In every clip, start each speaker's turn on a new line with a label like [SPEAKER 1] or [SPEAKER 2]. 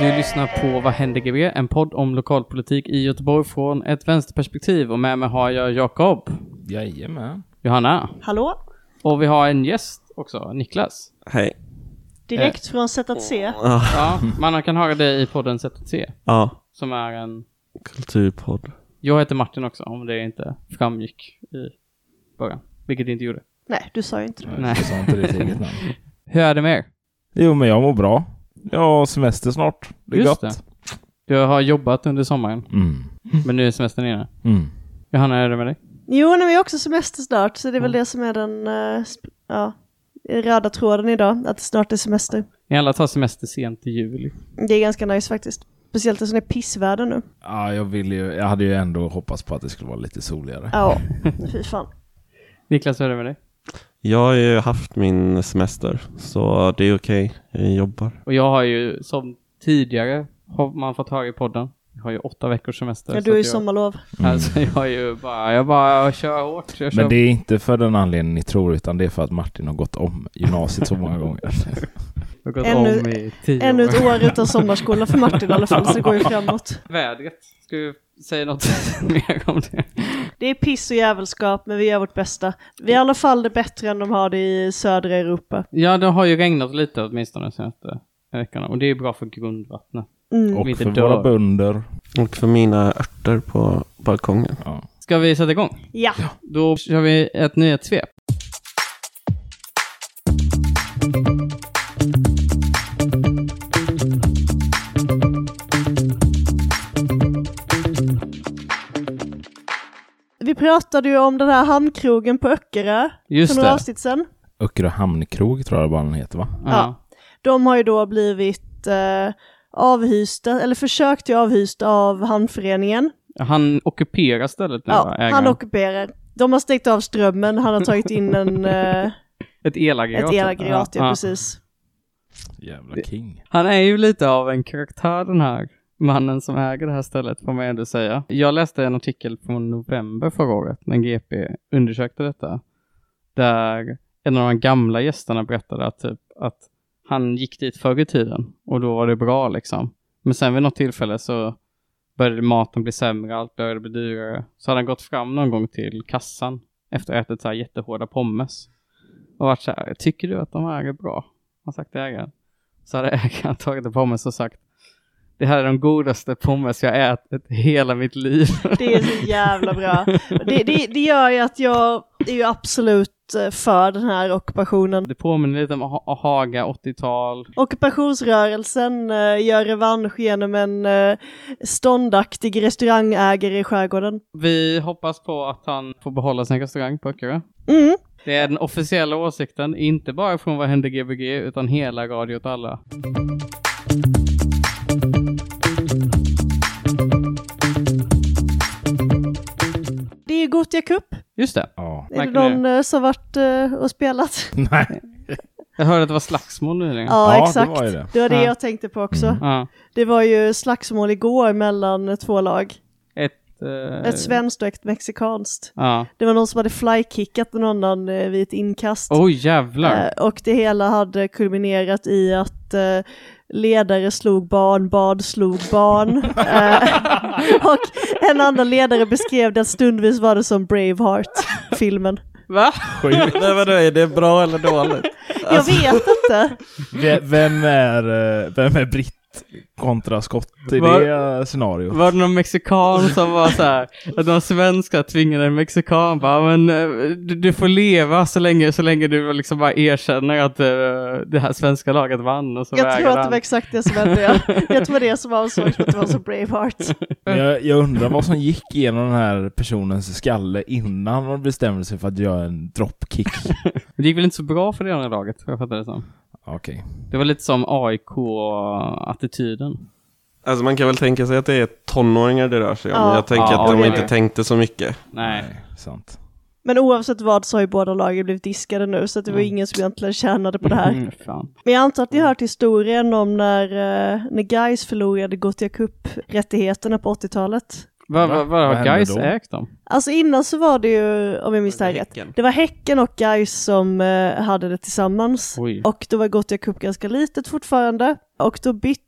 [SPEAKER 1] Du lyssnar på Vad händer GB? En podd om lokalpolitik i Göteborg från ett vänsterperspektiv. Och med mig har jag Jakob,
[SPEAKER 2] Jajamän.
[SPEAKER 1] Johanna
[SPEAKER 3] Hallå?
[SPEAKER 1] och vi har en gäst också, Niklas.
[SPEAKER 4] Hej.
[SPEAKER 3] Direkt
[SPEAKER 1] Eh.
[SPEAKER 3] från Sätt att se.
[SPEAKER 4] Ah,
[SPEAKER 1] Ja, man kan höra dig i podden Sätt att se,
[SPEAKER 4] ja,
[SPEAKER 1] som är en...
[SPEAKER 4] kulturpodd.
[SPEAKER 1] Jag heter Martin också, om det inte framgick i början. Vilket det inte gjorde.
[SPEAKER 3] Nej, du sa ju inte det.
[SPEAKER 1] Nej.
[SPEAKER 2] Nej. Jag sa inte ditt eget namn.
[SPEAKER 1] Hur är det med er?
[SPEAKER 2] Jo, men jag mår bra. Jag har semester snart. Det är
[SPEAKER 1] Just
[SPEAKER 2] gott.
[SPEAKER 1] det. Jag har jobbat under sommaren,
[SPEAKER 2] Mm.
[SPEAKER 1] men nu är semestern inne.
[SPEAKER 2] Mm.
[SPEAKER 1] Johanna, hur är det med dig?
[SPEAKER 3] Jo, nej, vi har också semester snart, så det är väl
[SPEAKER 1] Mm.
[SPEAKER 3] det som är den eh, sp- ja, röda tråden idag, att det snart är semester.
[SPEAKER 1] Ni alla tar semester sent i juli.
[SPEAKER 3] Det är ganska nice faktiskt. Speciellt eftersom det är pissväder nu.
[SPEAKER 2] Ja, jag ville ju, jag hade ju ändå hoppats på att det skulle vara lite soligare.
[SPEAKER 3] Ja, fy fan.
[SPEAKER 1] Niklas, hur är det med dig?
[SPEAKER 4] Jag har ju haft min semester, så det är okej. Jag jobbar.
[SPEAKER 1] Och jag har ju, som tidigare har man fått höra i podden, jag har ju åtta veckors semester.
[SPEAKER 3] Ja,
[SPEAKER 1] så
[SPEAKER 3] du är ju
[SPEAKER 1] att jag,
[SPEAKER 3] sommarlov.
[SPEAKER 1] Alltså jag har ju bara, jag bara kör hårt. Jag kör,
[SPEAKER 2] Men det är inte för den anledningen ni tror, utan det är för att Martin har gått om gymnasiet så många gånger.
[SPEAKER 1] jag har gått
[SPEAKER 3] ännu-
[SPEAKER 1] om i tio
[SPEAKER 3] Ännu
[SPEAKER 1] år.
[SPEAKER 3] ett år utan sommarskola för Martin i alla fall, så det går ju framåt.
[SPEAKER 1] Vädret, ska du säga något mer om det?
[SPEAKER 3] Det är piss och jävelskap, men vi gör vårt bästa. Vi är i alla fall det bättre än de har det i södra Europa.
[SPEAKER 1] Ja, det har ju regnat lite åtminstone de senaste veckorna och det är bra för grundvattnet.
[SPEAKER 3] Mm.
[SPEAKER 2] Och
[SPEAKER 1] Inte
[SPEAKER 2] för
[SPEAKER 1] dör.
[SPEAKER 2] våra bönder.
[SPEAKER 4] Och för mina örter på balkongen.
[SPEAKER 2] Ja.
[SPEAKER 1] Ska vi sätta igång?
[SPEAKER 3] Ja,
[SPEAKER 1] Då kör vi ett nyhetssvep.
[SPEAKER 3] vi pratade ju om den här hamnkrogen på Öckerö
[SPEAKER 1] Just
[SPEAKER 3] för några
[SPEAKER 1] det.
[SPEAKER 3] avsnitt sedan.
[SPEAKER 2] Öckerö hamnkrog tror jag bara den heter, va?
[SPEAKER 3] Ja. De har ju då blivit eh, avhysta, eller försökt till avhysta av hamnföreningen.
[SPEAKER 1] Ja. Han ockuperar stället nu va?
[SPEAKER 3] Ja,
[SPEAKER 1] Ägaren.
[SPEAKER 3] han ockuperar. De har stängt av strömmen, han har tagit in en, eh,
[SPEAKER 1] Ett elaggregat.
[SPEAKER 3] ett elaggregat, ja,
[SPEAKER 1] Ja.
[SPEAKER 3] precis.
[SPEAKER 2] Jävla king.
[SPEAKER 1] Han är ju lite av en karaktär den här mannen som äger det här stället får man ändå säga. Jag läste en artikel från november förra året när GP undersökte detta. Där en av de gamla gästerna berättade att, typ, att han gick dit förr i tiden och då var det bra liksom. Men sen vid något tillfälle så började maten bli sämre, allt började bli dyrare. Så hade han gått fram någon gång till kassan efter att ha ätit så här jättehårda pommes. Och varit så här, tycker du att de här är bra? Har sagt till ägaren. Så hade ägaren tagit en pommes och sagt Det här är de godaste pommes jag ätit hela mitt liv.
[SPEAKER 3] Det är så jävla bra. Det, det, det gör ju att jag är ju absolut eh, för den här ockupationen.
[SPEAKER 1] Det påminner lite om ha Haga 80-tal.
[SPEAKER 3] Ockupationsrörelsen eh, gör revansch genom en eh, ståndaktig restaurangägare i skärgården.
[SPEAKER 1] Vi hoppas på att han får behålla sin restaurang på Öckerö.
[SPEAKER 3] Mm.
[SPEAKER 1] Det är den officiella åsikten, inte bara från Vad händer Gbg utan hela Radio åt alla.
[SPEAKER 3] Det är Gothia Cup.
[SPEAKER 1] Just det,
[SPEAKER 2] Ja.
[SPEAKER 3] Är det
[SPEAKER 1] Märker ni
[SPEAKER 3] någon eh, som varit eh, och spelat?
[SPEAKER 2] Nej.
[SPEAKER 1] jag hörde att det var slagsmål nyligen.
[SPEAKER 3] Ja,
[SPEAKER 2] Ja, det
[SPEAKER 3] exakt.
[SPEAKER 2] var ju det.
[SPEAKER 3] var det
[SPEAKER 1] Ja.
[SPEAKER 3] jag tänkte på också.
[SPEAKER 2] Mm.
[SPEAKER 1] Ja.
[SPEAKER 3] Det var ju slagsmål igår mellan två lag.
[SPEAKER 1] Ett... Eh,
[SPEAKER 3] Ett svenskt och ett mexikanskt.
[SPEAKER 1] Ja.
[SPEAKER 3] Det var någon som hade flykickat någon annan eh, vid ett inkast.
[SPEAKER 2] Oh,
[SPEAKER 1] Oj jävlar.
[SPEAKER 3] Eh, och det hela hade kulminerat i att eh, ledare slog barn, barn slog barn. Eh, och en annan ledare beskrev det att stundvis var det som Braveheart-filmen.
[SPEAKER 1] Va?
[SPEAKER 4] Nej vadå, är det bra eller dåligt?
[SPEAKER 3] Jag
[SPEAKER 2] Alltså,
[SPEAKER 3] vet inte.
[SPEAKER 2] Ve- Vem är, eh, vem är britt kontra skott i
[SPEAKER 1] Var-
[SPEAKER 2] det eh, scenariot?
[SPEAKER 1] Var det någon mexikan som var så här, att någon svenska tvingade en mexikan bara, men eh, du, du får leva så länge, så länge du liksom bara erkänner att eh, det här svenska laget vann och så
[SPEAKER 3] Jag
[SPEAKER 1] vägrade
[SPEAKER 3] tror att det
[SPEAKER 1] han.
[SPEAKER 3] var exakt det som hände. Jag, jag tror det var det som avsågs med att det var som Braveheart.
[SPEAKER 2] Men jag, jag undrar vad som gick igenom den här personens skalle innan man bestämde sig för att göra en dropkick.
[SPEAKER 1] Men det gick väl inte så bra för det andra laget, vad jag fattar det som.
[SPEAKER 2] Okej.
[SPEAKER 1] Det var lite som AIK-attityden.
[SPEAKER 4] Alltså man kan väl tänka sig att det är tonåringar det rör sig om.
[SPEAKER 3] Ja.
[SPEAKER 4] Jag tänker
[SPEAKER 1] Ja,
[SPEAKER 4] att de
[SPEAKER 1] det är
[SPEAKER 4] inte
[SPEAKER 1] det.
[SPEAKER 4] tänkte så mycket.
[SPEAKER 1] Nej.
[SPEAKER 2] sant.
[SPEAKER 3] Men oavsett vad så har ju båda lagen blivit diskade nu så att det var
[SPEAKER 1] Mm.
[SPEAKER 3] ingen som egentligen tjänade på det här.
[SPEAKER 1] Mm, fan.
[SPEAKER 3] Men jag antar att ni har hört historien om när, eh, när Guys förlorade Gothia Cup-rättigheterna på 80-talet.
[SPEAKER 1] Vad
[SPEAKER 2] Va?
[SPEAKER 1] va, va,
[SPEAKER 2] Vad
[SPEAKER 1] har
[SPEAKER 2] hände
[SPEAKER 1] Gais
[SPEAKER 2] då?
[SPEAKER 1] ägt dem?
[SPEAKER 3] Alltså innan så var det ju, om jag minns det här rätt,
[SPEAKER 4] Häcken.
[SPEAKER 3] det var Häcken och Guys som eh, hade det tillsammans.
[SPEAKER 1] Oj.
[SPEAKER 3] Och då var Gothia Cup ganska litet fortfarande. Och då bytte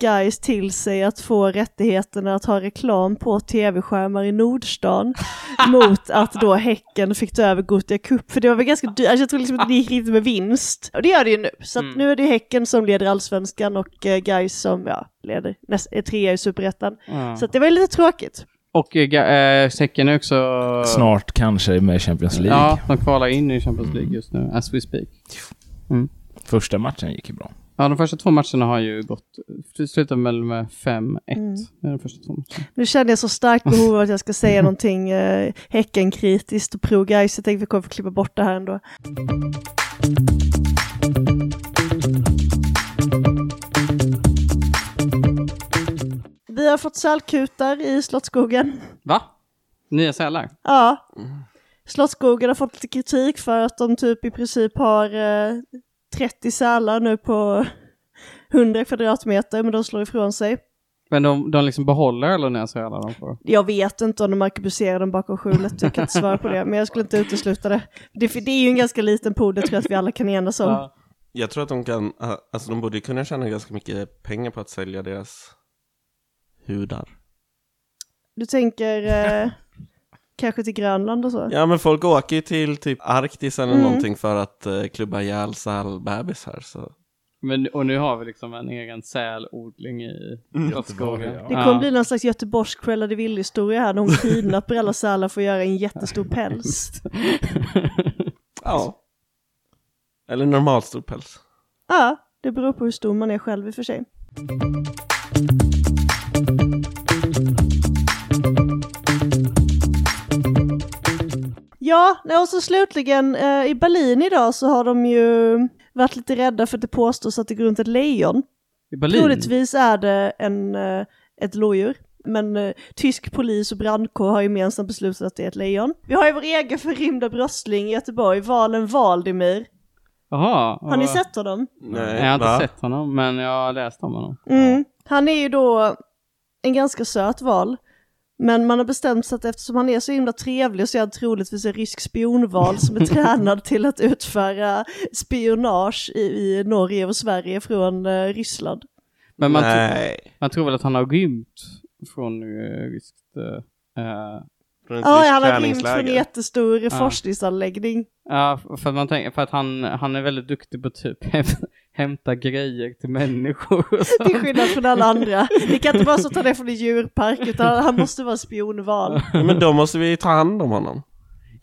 [SPEAKER 3] Guys till sig att få rättigheterna att ha reklam på tv-skärmar i Nordstan mot att då Häcken fick ta över Gothia Cup. För det var väl ganska dyrt, alltså jag tror liksom att det gick riktigt med vinst. Och det gör det ju nu. Så att
[SPEAKER 1] Mm.
[SPEAKER 3] nu är det Häcken som leder allsvenskan och eh, Guys som ja, leder näst, är trea i superettan.
[SPEAKER 1] Ja.
[SPEAKER 3] Så att det var ju lite tråkigt.
[SPEAKER 1] Och eh, Ga- eh, Häcken är också...
[SPEAKER 2] Snart kanske med Champions League.
[SPEAKER 1] Eh. Ja, de kvalar in i Champions League just nu, as we speak.
[SPEAKER 2] Första matchen gick ju bra.
[SPEAKER 1] Ja, de första två matcherna har ju gått... Det slutade väl med 5-1.
[SPEAKER 3] Mm.
[SPEAKER 1] Det är de första två matcherna.
[SPEAKER 3] Nu känner jag så starkt behov av att jag ska säga någonting eh, Häcken-kritiskt och pro-Gais. Jag tänkte vi kommer få klippa bort det här ändå. Vi har fått sälkutar i Slottsskogen.
[SPEAKER 1] Va? Nya sälar?
[SPEAKER 3] Ja. Slottsskogen har fått lite kritik för att de typ i princip har eh, 30 sälar nu på 100 kvadratmeter, men de slår ifrån sig.
[SPEAKER 1] Men de, de liksom behåller alla nya sälar de får?
[SPEAKER 3] Jag vet inte om de arkebuserar dem bakom skjulet, jag kan inte svara på det, men jag skulle inte utesluta det. Det, för det är ju en ganska liten pool, det tror jag att vi alla kan enas om.
[SPEAKER 1] Ja.
[SPEAKER 4] Jag tror att de kan, äh, alltså de borde ju kunna tjäna ganska mycket pengar på att sälja deras hudar.
[SPEAKER 3] Du tänker eh, kanske till Grönland och så?
[SPEAKER 4] Ja men folk åker ju till typ Arktis eller
[SPEAKER 3] Mm.
[SPEAKER 4] någonting för att eh, klubba ihjäl sälbebisar så.
[SPEAKER 1] Men, och nu har vi liksom en egen sälodling i Slottsskogen.
[SPEAKER 2] Göteborg,
[SPEAKER 3] Det kommer bli någon slags Göteborgs Cruella de Vil-historia här, när hon kidnappar alla sälar för att göra en jättestor päls.
[SPEAKER 4] Ja. Eller normalstor päls.
[SPEAKER 3] Ja, det beror på hur stor man är själv i och för sig. Ja, nej, och så slutligen eh, i Berlin idag så har de ju varit lite rädda för att det påstås att det går runt ett lejon.
[SPEAKER 1] I Berlin?
[SPEAKER 3] Troligtvis är det en, eh, ett lodjur. Men eh, tysk polis och brandkår har gemensamt beslutat att det är ett lejon. Vi har ju vår egen förrymda brottsling i Göteborg, Valen Valdimir.
[SPEAKER 1] Jaha.
[SPEAKER 3] Har ni
[SPEAKER 1] och-
[SPEAKER 3] sett honom?
[SPEAKER 4] Nej,
[SPEAKER 1] Nej, jag har inte
[SPEAKER 4] va?
[SPEAKER 1] sett honom, men jag har läst om honom.
[SPEAKER 3] Mm. Han är ju då en ganska söt val. Men man har bestämt sig att eftersom han är så himla trevlig så är han troligtvis en rysk spionval som är tränad till att utföra spionage i, i Norge och Sverige från eh, Ryssland.
[SPEAKER 1] Men man, tr-
[SPEAKER 4] Nej.
[SPEAKER 1] man tror väl att han har rymt från eh, ryskt... eh,
[SPEAKER 4] Från ett
[SPEAKER 3] Ja,
[SPEAKER 4] ryskt
[SPEAKER 3] han har rymt
[SPEAKER 4] träningsläger.
[SPEAKER 3] från en jättestor
[SPEAKER 1] Ja.
[SPEAKER 3] forskningsanläggning.
[SPEAKER 1] Ja, för att man tänker, för att han, han är väldigt duktig på typ hämta grejer till människor och sånt.
[SPEAKER 3] Till skillnad från alla andra. Det kan inte vara så att han är från en djurpark utan han måste vara spionval.
[SPEAKER 4] Ja, Men då måste vi ta hand om honom.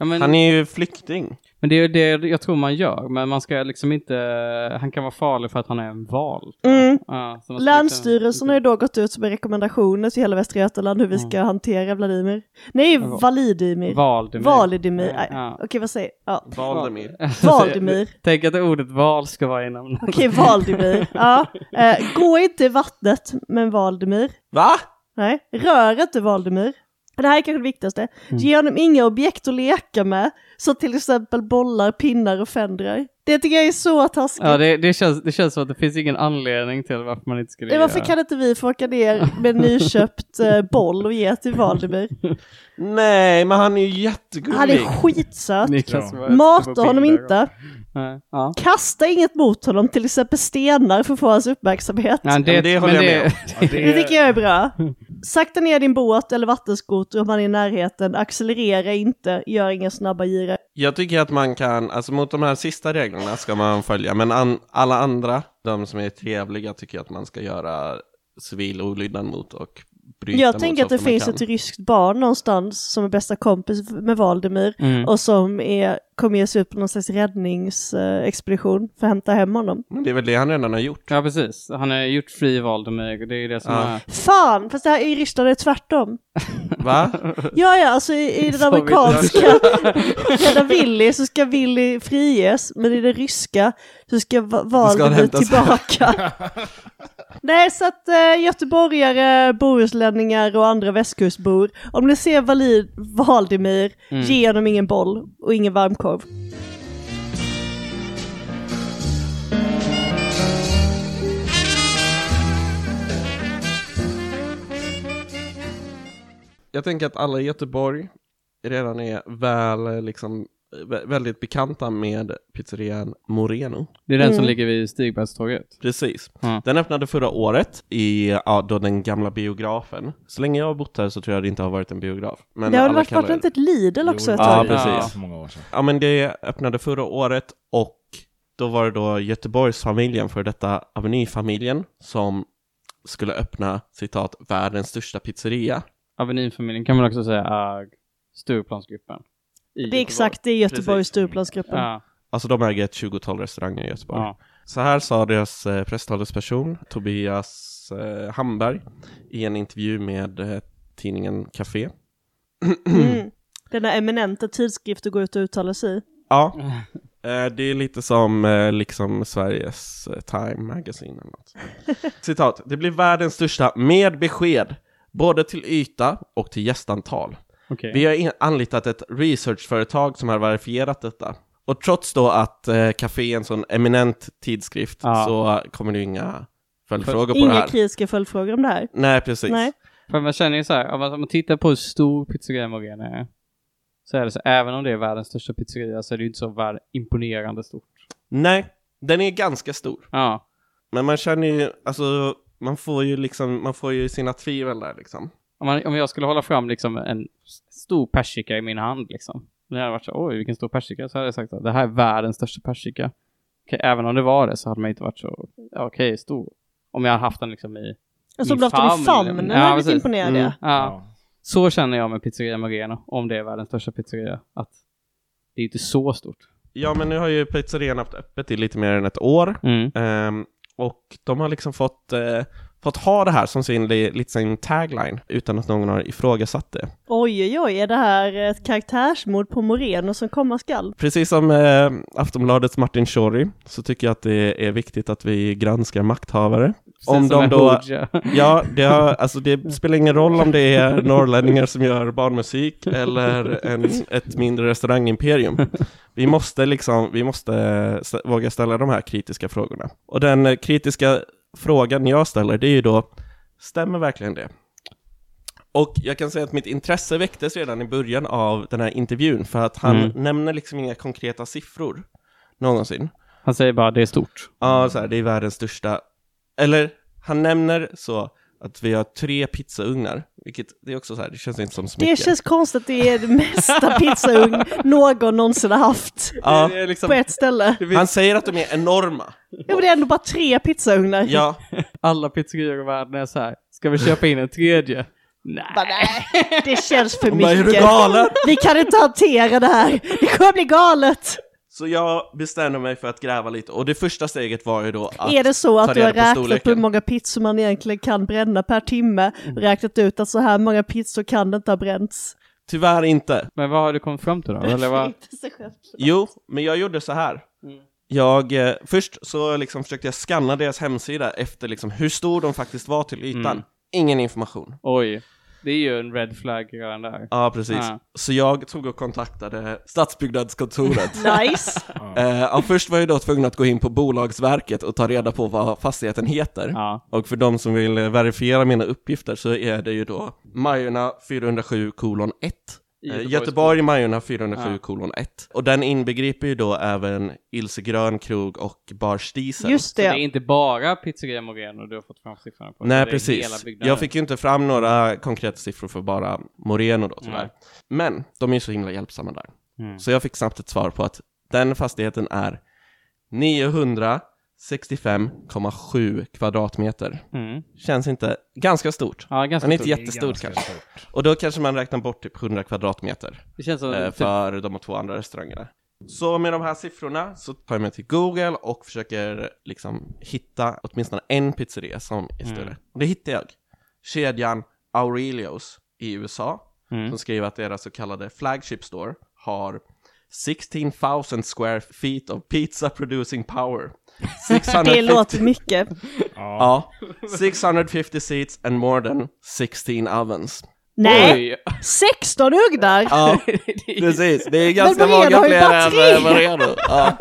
[SPEAKER 1] Ja, men,
[SPEAKER 4] Han är ju flykting.
[SPEAKER 1] men det är ju det jag tror man gör, men man ska liksom inte, han kan vara farlig för att han är en val.
[SPEAKER 3] Mm.
[SPEAKER 1] Ja, så man ska
[SPEAKER 3] Länsstyrelsen har ju
[SPEAKER 1] liksom,
[SPEAKER 3] då gått ut med rekommendationer till hela Västra Götaland hur vi ska hantera Vladimir. Nej,
[SPEAKER 1] Ja, va-
[SPEAKER 3] Validimir.
[SPEAKER 1] Valdemir.
[SPEAKER 3] Validimir. Nej,
[SPEAKER 1] Ja.
[SPEAKER 3] Okej, vad säger jag? Ja.
[SPEAKER 4] Valdemir.
[SPEAKER 3] Valdemir.
[SPEAKER 1] Tänk att ordet val ska vara inom
[SPEAKER 3] Okej, Valdimir. Ja. Eh, gå inte i vattnet, men Valdimir.
[SPEAKER 4] Va?
[SPEAKER 3] Nej, rör inte Valdemir. Det här är kanske det viktigaste.
[SPEAKER 1] Mm.
[SPEAKER 3] Ge honom inga objekt att leka med, som till exempel bollar, pinnar och fendrar. Det tycker jag är så taskigt.
[SPEAKER 1] Ja, det, det, känns, det känns som att det finns ingen anledning till varför man inte skulle
[SPEAKER 3] Eh, Varför
[SPEAKER 1] göra-
[SPEAKER 3] kan inte vi få åka ner med en nyköpt eh, boll och ge till Valdemir?
[SPEAKER 4] Nej, men han är ju jättegullig.
[SPEAKER 3] Han är skitsöt.
[SPEAKER 1] Niklas
[SPEAKER 2] Ja.
[SPEAKER 1] var ute på
[SPEAKER 3] Mata honom
[SPEAKER 1] bilder.
[SPEAKER 3] inte.
[SPEAKER 1] Nej, ja.
[SPEAKER 3] Kasta inget mot honom, till exempel stenar för att få hans uppmärksamhet.
[SPEAKER 1] Ja,
[SPEAKER 4] men det håller jag med om.
[SPEAKER 3] Det tycker jag är bra. Sakta ner din båt eller vattenskoter om man är i närheten. Accelerera inte, gör inga snabba girar.
[SPEAKER 4] Jag tycker att man kan, alltså mot de här sista reglerna ska man följa, men an, alla andra, de som är trevliga, tycker jag att man ska göra civil olydnad mot och bryta
[SPEAKER 3] Jag
[SPEAKER 4] mot
[SPEAKER 3] tänker
[SPEAKER 4] så
[SPEAKER 3] att det
[SPEAKER 4] ofta man
[SPEAKER 3] finns
[SPEAKER 4] kan.
[SPEAKER 3] ett ryskt barn någonstans som är bästa kompis med Valdemir
[SPEAKER 1] Mm.
[SPEAKER 3] och som är, kommer ge sig ut på någon slags räddningsexpedition för att hämta hem honom.
[SPEAKER 4] Men det är väl det han redan har gjort.
[SPEAKER 1] Ja, precis. Han har gjort fri Valdemir. Det är ju det som
[SPEAKER 4] Ja.
[SPEAKER 1] är...
[SPEAKER 3] Fan, fast det här i Ryssland är det tvärtom.
[SPEAKER 4] Va?
[SPEAKER 3] Ja, ja, alltså i, i den
[SPEAKER 1] Som vi
[SPEAKER 3] amerikanska Rädda Willy så ska Willy friges, men i den ryska så ska Va-
[SPEAKER 4] han
[SPEAKER 3] Valdemir
[SPEAKER 4] hämtas.
[SPEAKER 3] tillbaka. Nej, så att eh, göteborgare, bohuslänningar och andra västkustbor, om ni ser Valid, Valdimir, ge honom ingen boll och ingen varmkorv.
[SPEAKER 4] Jag tänker att alla i Göteborg redan är väl, eh, liksom, eh, vä- väldigt bekanta med pizzerian Moreno.
[SPEAKER 1] Det är den som
[SPEAKER 3] Mm.
[SPEAKER 1] ligger vid Stigbergståget.
[SPEAKER 4] Precis.
[SPEAKER 1] Ja.
[SPEAKER 4] Den öppnade förra året i ja, då den gamla biografen. Så länge jag har bott här så tror jag det inte har varit en biograf. Men
[SPEAKER 3] det har väl
[SPEAKER 4] alla
[SPEAKER 3] varit,
[SPEAKER 4] kallar
[SPEAKER 3] varit
[SPEAKER 4] det-
[SPEAKER 3] inte ett Lidl också
[SPEAKER 2] Jo,
[SPEAKER 3] ett
[SPEAKER 2] det
[SPEAKER 4] Ja,
[SPEAKER 3] tag?
[SPEAKER 2] är
[SPEAKER 1] precis.
[SPEAKER 2] så många år sedan.
[SPEAKER 4] Ja, men det öppnade förra året och då var det då Göteborgsfamiljen, för detta Avenyfamiljen, som skulle öppna, citat, världens största pizzeria.
[SPEAKER 1] Avenyfamiljen kan man också säga är Stureplansgruppen. i
[SPEAKER 3] Det är
[SPEAKER 1] Göteborg.
[SPEAKER 3] exakt, det är Göteborgs Stureplansgruppen.
[SPEAKER 1] Ja,
[SPEAKER 4] Alltså de äger ett 20-tal restauranger i Göteborg.
[SPEAKER 1] ja.
[SPEAKER 4] Så här sa deras eh, presstalesperson Tobias eh, Hamberg i en intervju med eh, tidningen Café.
[SPEAKER 3] Mm. Denna eminenta tidskrift att gå ut och uttala sig i.
[SPEAKER 4] Ja, eh, det är lite som eh, liksom Sveriges eh, Time Magazine eller något. Citat, det blir världens största med besked, både till yta och till gästantal.
[SPEAKER 1] Okej.
[SPEAKER 4] Vi har in- anlitat ett researchföretag som har verifierat detta. Och trots då att eh, Café är en sån eminent tidskrift
[SPEAKER 1] Ja.
[SPEAKER 4] så kommer det ju inga följdfrågor på det
[SPEAKER 3] Inga
[SPEAKER 4] här.
[SPEAKER 3] kritiska följdfrågor om det här.
[SPEAKER 4] Nej, precis.
[SPEAKER 3] Nej.
[SPEAKER 1] För man känner ju så här, om man, om man tittar på hur stor pizzeria Morena är, så är det så, även om det är världens största pizzeria så är det ju inte så värd imponerande stort.
[SPEAKER 4] Nej, den är ganska stor.
[SPEAKER 1] Ja,
[SPEAKER 4] Men man känner ju, alltså, man får ju liksom, man får ju sina tvivel där liksom.
[SPEAKER 1] om, man, om jag skulle hålla fram liksom en s- stor persika i min hand liksom, det hade varit så, oj vilken stor persika, så hade jag sagt att det här är världens största persika. Okej, även om det var det så hade man inte varit så, ja, okej, stor. Om jag hade haft den liksom i,
[SPEAKER 3] Alltså om
[SPEAKER 1] Min
[SPEAKER 3] du haft dem i
[SPEAKER 1] famn, eller?
[SPEAKER 3] famnen
[SPEAKER 1] Ja,
[SPEAKER 3] hade blivit
[SPEAKER 1] precis.
[SPEAKER 3] imponerad
[SPEAKER 4] Mm.
[SPEAKER 3] ja.
[SPEAKER 1] ja. Så känner jag med pizzeria Morena, om det är världens största pizzeria, att det är inte så stort.
[SPEAKER 4] Ja, men nu har ju pizzerian haft öppet i lite mer än ett år.
[SPEAKER 1] Mm.
[SPEAKER 4] Ehm, och de har liksom fått, eh, fått ha det här som sin, li- lite sin tagline utan att någon har ifrågasatt det.
[SPEAKER 3] Oj oj oj, är det här ett karaktärsmord på Moreno som komma skall?
[SPEAKER 4] Precis som eh, Aftonbladets Martin Shori så tycker jag att det är viktigt att vi granskar makthavare. Om
[SPEAKER 1] Sen som
[SPEAKER 4] de
[SPEAKER 1] med
[SPEAKER 4] då-
[SPEAKER 1] Hoja.
[SPEAKER 4] Ja, det, har, alltså det spelar ingen roll om det är norrlänningar som gör barnmusik eller en, ett mindre restaurangimperium. Vi måste, liksom, vi måste st- våga ställa de här kritiska frågorna. Och den eh, kritiska frågan jag ställer, det är ju då, stämmer verkligen det? Och jag kan säga att mitt intresse väcktes redan i början av den här intervjun, för att han
[SPEAKER 1] Mm.
[SPEAKER 4] nämner liksom inga konkreta siffror någonsin.
[SPEAKER 1] Han säger bara det är stort.
[SPEAKER 4] Ja, så här, det är världens största. Eller, han nämner så att vi har tre pizzaugnar, vilket det är också så här, det känns inte som så
[SPEAKER 3] Det
[SPEAKER 4] mycket.
[SPEAKER 3] känns konstigt att det är det mesta pizzaugn någon någonsin har haft
[SPEAKER 4] Ja,
[SPEAKER 1] är liksom,
[SPEAKER 3] på ett ställe.
[SPEAKER 4] han säger att de är enorma.
[SPEAKER 3] Ja men det är ändå bara tre pizzaugnar.
[SPEAKER 4] Ja,
[SPEAKER 1] alla pizzerior i världen är så här. Ska vi köpa in en tredje? Nej.
[SPEAKER 3] Bara, nej, det känns för
[SPEAKER 4] de bara, är du
[SPEAKER 3] mycket.
[SPEAKER 4] galen?
[SPEAKER 3] Vi kan inte hantera det här. Det kommer bli galet.
[SPEAKER 4] Så jag bestämde mig för att gräva lite, och det första steget var ju då att...
[SPEAKER 3] Är det så
[SPEAKER 4] ta
[SPEAKER 3] att du
[SPEAKER 4] reda
[SPEAKER 3] har
[SPEAKER 4] på
[SPEAKER 3] räknat på
[SPEAKER 4] storleken. Mm.
[SPEAKER 3] hur många pizzor man egentligen kan bränna per timme? Räknat ut att så här många pizzor kan det inte ha bränts?
[SPEAKER 4] Tyvärr inte.
[SPEAKER 1] Men vad har du kommit fram till då? Eller vad?
[SPEAKER 3] Inte så skönt.
[SPEAKER 4] Jo, men jag gjorde så här. Jag, eh, först så liksom försökte jag scanna deras hemsida efter liksom hur stor de faktiskt var till ytan.
[SPEAKER 1] Mm.
[SPEAKER 4] Ingen information.
[SPEAKER 1] Oj, det är ju en red flag redan där.
[SPEAKER 4] Ja, precis.
[SPEAKER 1] Ja.
[SPEAKER 4] Så jag tog och kontaktade stadsbyggnadskontoret.
[SPEAKER 3] Nice.
[SPEAKER 4] Eh, ja, först var jag då tvungen att gå in på Bolagsverket och ta reda på vad fastigheten heter.
[SPEAKER 1] Ja.
[SPEAKER 4] Och för de som vill eh, verifiera mina uppgifter så är det ju då Majorna 407 kolon 1.
[SPEAKER 1] I
[SPEAKER 4] Eh,
[SPEAKER 1] Göteborgs-
[SPEAKER 4] Göteborg Majorna 407
[SPEAKER 1] Ja.
[SPEAKER 4] kolon 1. Och den inbegriper ju då även Ilse Grön krog och Bar Stiesel.
[SPEAKER 3] Just
[SPEAKER 1] Så det är
[SPEAKER 3] det.
[SPEAKER 1] inte bara pizzeria Moreno du har fått fram siffrorna på?
[SPEAKER 4] Nej,
[SPEAKER 1] Det är hela
[SPEAKER 4] precis.
[SPEAKER 1] byggnaden.
[SPEAKER 4] Jag fick ju inte fram några konkreta siffror för bara Moreno då tyvärr.
[SPEAKER 1] Nej.
[SPEAKER 4] Men de är ju så himla hjälpsamma där.
[SPEAKER 1] Mm.
[SPEAKER 4] Så jag fick snabbt ett svar på att den fastigheten är 965,7 kvadratmeter.
[SPEAKER 1] Mm.
[SPEAKER 4] Känns inte ganska stort.
[SPEAKER 1] Ja, ganska
[SPEAKER 4] Den är inte
[SPEAKER 1] stort.
[SPEAKER 4] jättestor kanske. Och då kanske man räknar bort typ 100 kvadratmeter
[SPEAKER 1] Det känns som...
[SPEAKER 4] eh,
[SPEAKER 1] Typ,
[SPEAKER 4] för de två andra restaurangerna. Så med de här siffrorna så tar jag mig till Google och försöker liksom hitta åtminstone en pizzeria som är större.
[SPEAKER 1] Mm.
[SPEAKER 4] Och det hittar jag. Kedjan Aurelios i USA
[SPEAKER 1] mm.
[SPEAKER 4] som skriver att deras så kallade flagship store har 16,000 square feet of pizza producing power
[SPEAKER 3] Det
[SPEAKER 4] 650
[SPEAKER 3] låter mycket.
[SPEAKER 2] Ja.
[SPEAKER 4] Ja. 650 seats and more than 16 ovens.
[SPEAKER 3] Nej,
[SPEAKER 1] Oj.
[SPEAKER 3] 16 ugnar!
[SPEAKER 4] Ja, precis. Det är ganska
[SPEAKER 3] Men Maria, har
[SPEAKER 4] många
[SPEAKER 3] ju
[SPEAKER 4] fler
[SPEAKER 3] bara tre.
[SPEAKER 4] än eh, Maredo. Ja.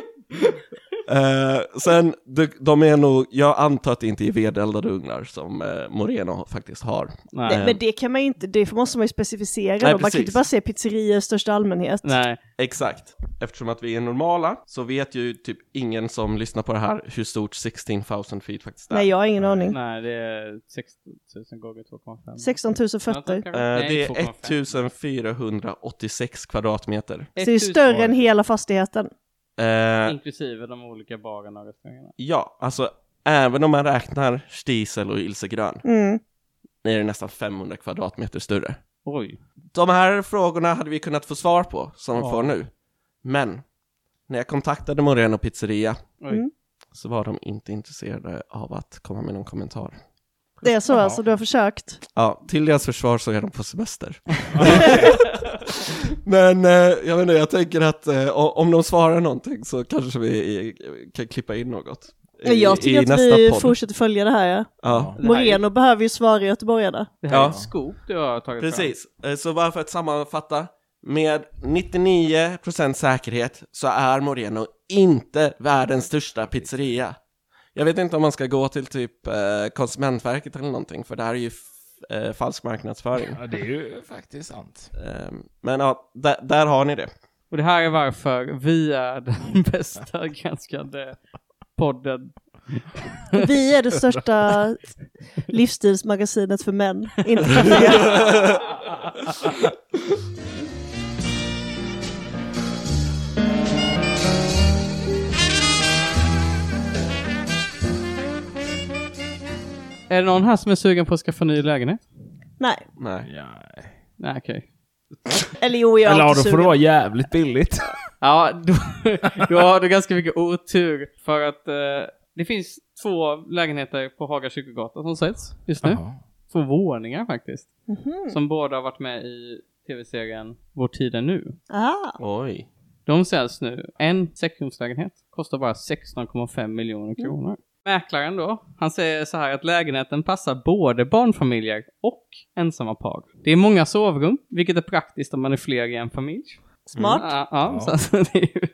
[SPEAKER 4] Eh, sen, de, de är nog, jag antar att det inte är vedeldade ugnar som eh, Moreno faktiskt har.
[SPEAKER 3] Nej,
[SPEAKER 1] Nej.
[SPEAKER 3] men det kan man ju inte, det måste man ju specificera
[SPEAKER 4] Nej,
[SPEAKER 3] då. Man kan ju inte
[SPEAKER 4] precis.
[SPEAKER 3] bara säga pizzerior i största allmänhet.
[SPEAKER 1] Nej.
[SPEAKER 4] Exakt. Eftersom att vi är normala så vet ju typ ingen som lyssnar på det här hur stort 16 000 feet faktiskt är.
[SPEAKER 3] Nej, jag har ingen aning.
[SPEAKER 1] Nej, det är 16 000 gånger 2,5.
[SPEAKER 3] 16 000 fötter.
[SPEAKER 4] Eh, det är 1486 kvadratmeter.
[SPEAKER 3] Så det är större än hela fastigheten.
[SPEAKER 4] Eh,
[SPEAKER 3] Mm.
[SPEAKER 1] Inklusive de olika bagarna och restaurangerna.
[SPEAKER 4] ja, alltså även om man räknar Stiesel och Ilsegrön
[SPEAKER 3] Mm.
[SPEAKER 4] är det nästan 500 kvadratmeter större.
[SPEAKER 1] Oj.
[SPEAKER 4] De här frågorna hade vi kunnat få svar på, som vi
[SPEAKER 1] Ja.
[SPEAKER 4] får nu. Men, när jag kontaktade Moreno Pizzeria
[SPEAKER 1] Oj.
[SPEAKER 3] Mm.
[SPEAKER 4] så var de inte intresserade av att komma med någon kommentar.
[SPEAKER 3] Det är så
[SPEAKER 1] Ja.
[SPEAKER 3] alltså, du har försökt.
[SPEAKER 4] Ja, till deras försvar så är de på semester. Men eh, jag vet inte, jag tänker att eh, o- om de svarar någonting så kanske vi eh, kan klippa in något. I,
[SPEAKER 3] jag tycker
[SPEAKER 4] i
[SPEAKER 3] att
[SPEAKER 4] nästa
[SPEAKER 3] vi
[SPEAKER 4] podd.
[SPEAKER 3] fortsätter följa det här ja.
[SPEAKER 4] Ja.
[SPEAKER 1] Det här är-
[SPEAKER 3] Mm. Moreno behöver ju svara göteborgarna.
[SPEAKER 1] Det här är
[SPEAKER 4] Ja.
[SPEAKER 1] ett scoop du har tagit fram.
[SPEAKER 4] Precis, Eh, så bara för att sammanfatta. Med 99% säkerhet så är Moreno inte världens största pizzeria. Jag vet inte om man ska gå till typ eh, Konsumentverket eller någonting, för det här är ju f- eh, falsk marknadsföring.
[SPEAKER 2] ja, det är ju faktiskt sant.
[SPEAKER 4] Eh, men ja, där, där har ni det.
[SPEAKER 1] Och det här är varför vi är den bästa granskade podden.
[SPEAKER 3] Vi är det största livsstilsmagasinet för män. Inte för
[SPEAKER 1] Är det någon här som är sugen på att skaffa ny lägenhet?
[SPEAKER 3] Nej,
[SPEAKER 4] Nej.
[SPEAKER 2] Ja.
[SPEAKER 1] Nej, okej.
[SPEAKER 3] eller jo, jag är
[SPEAKER 2] Eller ja, då får
[SPEAKER 3] alltid
[SPEAKER 2] det
[SPEAKER 3] sugen.
[SPEAKER 2] vara jävligt billigt.
[SPEAKER 1] Ja, då, då har du ganska mycket otur för att eh, det finns två lägenheter på Haga kyrkogata som säljs just nu.
[SPEAKER 2] Jaha.
[SPEAKER 1] Två våningar faktiskt.
[SPEAKER 3] Mhm.
[SPEAKER 1] Som båda har varit med i tv-serien Vår tid är nu.
[SPEAKER 3] Ah,
[SPEAKER 4] Oj.
[SPEAKER 1] De säljs nu. En sexrumslägenhet kostar bara 16,5 miljoner kronor. Mäklaren då, han säger så här att lägenheten passar både barnfamiljer och ensamma par. Det är många sovrum, vilket är praktiskt om man är fler i en familj.
[SPEAKER 3] smart.
[SPEAKER 1] Ja, ja,
[SPEAKER 2] Ja.
[SPEAKER 1] Så att det, är ju,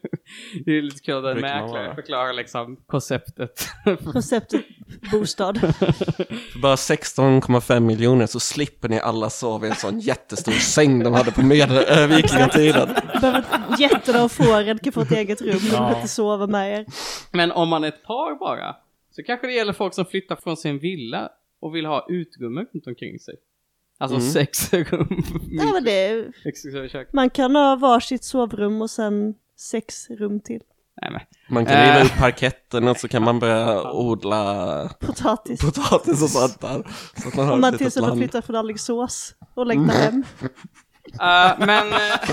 [SPEAKER 1] det är ju lite kul att en
[SPEAKER 4] Det kan man
[SPEAKER 1] mäklare
[SPEAKER 4] vara.
[SPEAKER 1] förklarar liksom konceptet.
[SPEAKER 3] Konceptet bostad.
[SPEAKER 4] För bara 16,5 miljoner så slipper ni alla sova i en sån jättestor säng de hade på medel- äh, vikingatiden.
[SPEAKER 3] Behöver- Getterna och fåren kan få ett eget rum, de behöver
[SPEAKER 2] Ja.
[SPEAKER 3] inte sova med er.
[SPEAKER 1] Men om man är ett par bara, så kanske det gäller folk som flyttar från sin villa och vill ha utrymme runt omkring sig. Alltså
[SPEAKER 4] Mm.
[SPEAKER 1] sex rum.
[SPEAKER 3] Ja, men det,
[SPEAKER 1] Sex rum i köket.
[SPEAKER 3] man kan ha varsitt sovrum och sen sex rum till.
[SPEAKER 1] Nej, men.
[SPEAKER 4] Man kan
[SPEAKER 1] Äh.
[SPEAKER 4] riva upp parketten och så kan man börja odla
[SPEAKER 3] Potatis.
[SPEAKER 4] potatis och sånt där. Så att man har
[SPEAKER 3] Om man
[SPEAKER 4] ett
[SPEAKER 3] till
[SPEAKER 4] litet
[SPEAKER 3] exempel
[SPEAKER 4] land.
[SPEAKER 3] flyttar från Alingsås och längtar hem.
[SPEAKER 1] Eh, men eh,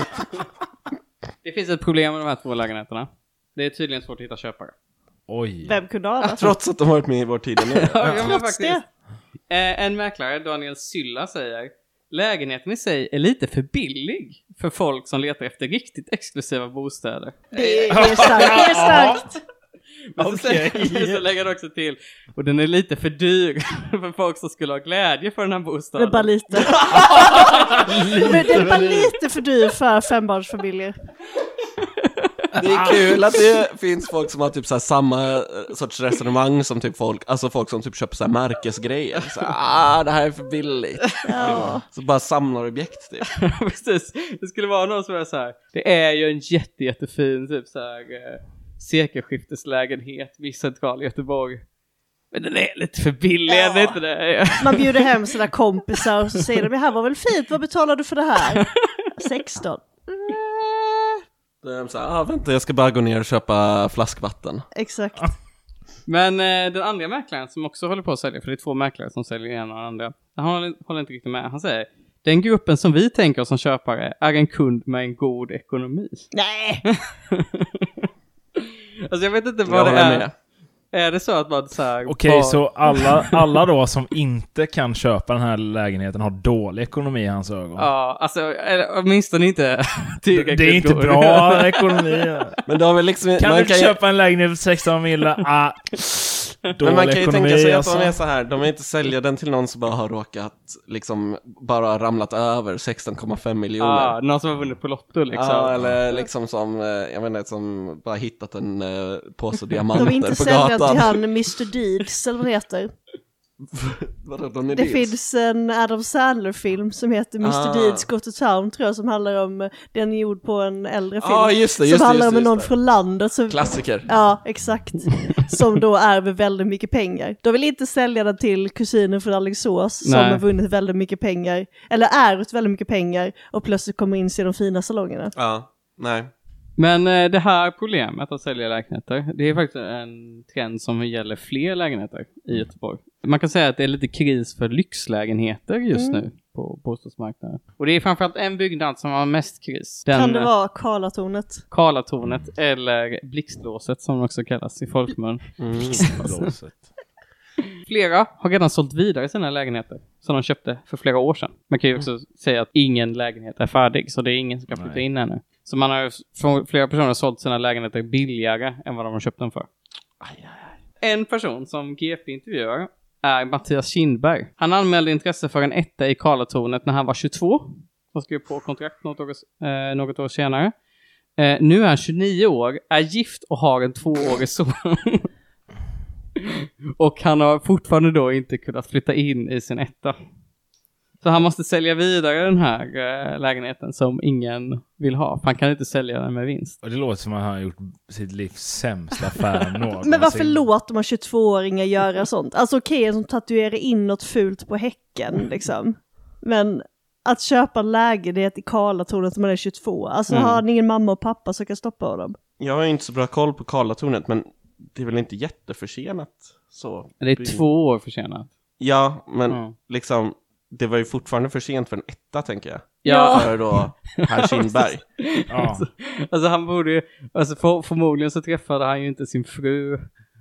[SPEAKER 1] det finns ett problem med de här två lägenheterna. Det är tydligen svårt att hitta köpare.
[SPEAKER 2] Oj.
[SPEAKER 3] Vem kunde ana?
[SPEAKER 4] Trots att de har varit med i vår tid nu.
[SPEAKER 1] Ja, men
[SPEAKER 3] Trots
[SPEAKER 1] faktiskt. Eh, en mäklare, Daniel Sylla, säger lägenheten i sig är lite för billig för folk som letar efter riktigt exklusiva bostäder.
[SPEAKER 3] Det är, det är starkt. Det är starkt.
[SPEAKER 1] Men så, säger, så lägger han också till, och den är lite för dyr för folk som skulle ha glädje för den här
[SPEAKER 3] Det är
[SPEAKER 1] bostaden.
[SPEAKER 3] bara lite. Men det är bara lite för dyr för fembarnsfamiljer.
[SPEAKER 4] Det är kul att det finns folk som har typ så här samma eh, sorts resonemang som typ folk, alltså folk som typ köper så här märkesgrejer. Så här, ah, det här är för billigt.
[SPEAKER 3] Ja.
[SPEAKER 4] Så bara samlar objekt typ.
[SPEAKER 1] Precis, det skulle vara någon som är så här. det är ju en jätte, jättefin typ så här eh, sekelskifteslägenhet vid central Göteborg. Men den är lite för billig, är den
[SPEAKER 3] Ja.
[SPEAKER 1] inte det?
[SPEAKER 3] Man bjuder hem sina kompisar och så säger de, det här var väl fint, vad betalar du för det här? 16.
[SPEAKER 4] Då är de så här, ah, vänta jag ska bara gå ner och köpa flaskvatten.
[SPEAKER 3] Exakt.
[SPEAKER 1] Men eh, den andra mäklaren som också håller på att sälja, för det är två mäklare som säljer en och den andra, han håller, håller inte riktigt med. Han säger den gruppen som vi tänker oss som köpare är en kund med en god ekonomi.
[SPEAKER 3] Nej,
[SPEAKER 1] alltså jag vet inte
[SPEAKER 4] Jag
[SPEAKER 1] vad det
[SPEAKER 4] håller
[SPEAKER 1] är.
[SPEAKER 4] med.
[SPEAKER 1] Är det så att man så här,
[SPEAKER 2] Okej,
[SPEAKER 1] bara-
[SPEAKER 2] så alla, alla då som inte kan köpa den här lägenheten har dålig ekonomi i hans ögon?
[SPEAKER 1] Ja, alltså eller, åtminstone inte
[SPEAKER 2] det,
[SPEAKER 1] tillräckligt
[SPEAKER 2] det är inte
[SPEAKER 1] god.
[SPEAKER 2] bra ekonomi.
[SPEAKER 4] Men då har vi liksom...
[SPEAKER 2] Kan
[SPEAKER 4] man
[SPEAKER 2] du inte
[SPEAKER 4] ju-
[SPEAKER 2] köpa en lägenhet för 16 mille? Ah, dålig
[SPEAKER 4] Men man kan ju
[SPEAKER 2] ekonomi
[SPEAKER 4] tänka sig
[SPEAKER 2] alltså.
[SPEAKER 4] att de är så här, de vill inte sälja den till någon som bara har råkat, liksom, bara ramlat över 16,5 miljoner.
[SPEAKER 2] Ah,
[SPEAKER 1] Ja, någon som har vunnit på Lotto liksom.
[SPEAKER 4] Ja, eller liksom som, eh, jag vet inte, som bara hittat en eh, påse
[SPEAKER 3] De
[SPEAKER 4] diamanter
[SPEAKER 3] vill inte
[SPEAKER 4] på
[SPEAKER 3] sälja
[SPEAKER 4] gatan.
[SPEAKER 3] till han Mr Deeds eller vad det heter.
[SPEAKER 4] Vadå, de är
[SPEAKER 3] Det
[SPEAKER 4] deals?
[SPEAKER 3] finns en Adam Sandler-film som heter Mr
[SPEAKER 4] Ah.
[SPEAKER 3] Deeds Go to Town tror jag som handlar om, eh, den är gjord på en äldre film.
[SPEAKER 4] Ja, Ah, just det, just
[SPEAKER 3] som
[SPEAKER 4] det,
[SPEAKER 3] handlar
[SPEAKER 4] just
[SPEAKER 3] om
[SPEAKER 4] det,
[SPEAKER 3] någon
[SPEAKER 4] just det.
[SPEAKER 3] från landet som...
[SPEAKER 4] Klassiker.
[SPEAKER 3] Ja, exakt. Som då ärver väldigt mycket pengar. De vill inte sälja den till kusinen från Alingsås som
[SPEAKER 1] Nej.
[SPEAKER 3] har vunnit väldigt mycket pengar, eller ärvt väldigt mycket pengar och plötsligt kommer in i de fina salongerna.
[SPEAKER 4] Ja, nej.
[SPEAKER 1] Men eh, det här problemet att sälja lägenheter, det är faktiskt en trend som gäller fler lägenheter i
[SPEAKER 3] Mm.
[SPEAKER 1] Göteborg. Man kan säga att det är lite kris för lyxlägenheter just
[SPEAKER 3] Mm.
[SPEAKER 1] nu på bostadsmarknaden. Och det är framförallt en byggnad som har mest kris. Den,
[SPEAKER 3] Kan det
[SPEAKER 1] eh,
[SPEAKER 3] vara Karlatornet?
[SPEAKER 1] Karlatornet eller Blixtlåset som det också kallas i folkmun.
[SPEAKER 2] Mm.
[SPEAKER 4] Mm.
[SPEAKER 1] Flera har redan sålt vidare sina lägenheter som de köpte för flera år sedan. Man kan ju också säga att ingen lägenhet är färdig, så det är ingen som kan flytta
[SPEAKER 2] Nej.
[SPEAKER 1] in ännu. Så man har ju från flera personer sålt sina lägenheter billigare än vad de har köpt dem för. En person som GP intervjuar är Mattias Kindberg. Han anmälde intresse för en etta i Karlatornet när han var 22 och skrev på kontrakt något år, eh, något år senare. Eh, nu är han 29 år, är gift och har en tvåårig son. och han har fortfarande då inte kunnat flytta in i sin etta. Så han måste sälja vidare den här eh, lägenheten som ingen vill ha. För han kan inte sälja den med vinst.
[SPEAKER 2] Och det låter som att han har gjort sitt livs sämsta affär någonsin.
[SPEAKER 3] Men varför låter man 22-åringar göra sånt? Alltså okej, som tatuerar in något fult på häcken liksom. Men att köpa en lägenhet i Karlatornet när man är 22, alltså har han ingen mamma och pappa som kan stoppa honom?
[SPEAKER 4] Jag har ju inte så bra koll på Karlatornet, men det är väl inte jätteförsenat så?
[SPEAKER 1] Det är två år försenat.
[SPEAKER 4] Ja, men
[SPEAKER 1] Ja.
[SPEAKER 4] liksom, det var ju fortfarande för sent för en etta, tänker jag.
[SPEAKER 3] Ja.
[SPEAKER 4] För då, herr Kindberg.
[SPEAKER 2] Ja.
[SPEAKER 1] Alltså han borde ju, alltså för, förmodligen så träffade han ju inte sin fru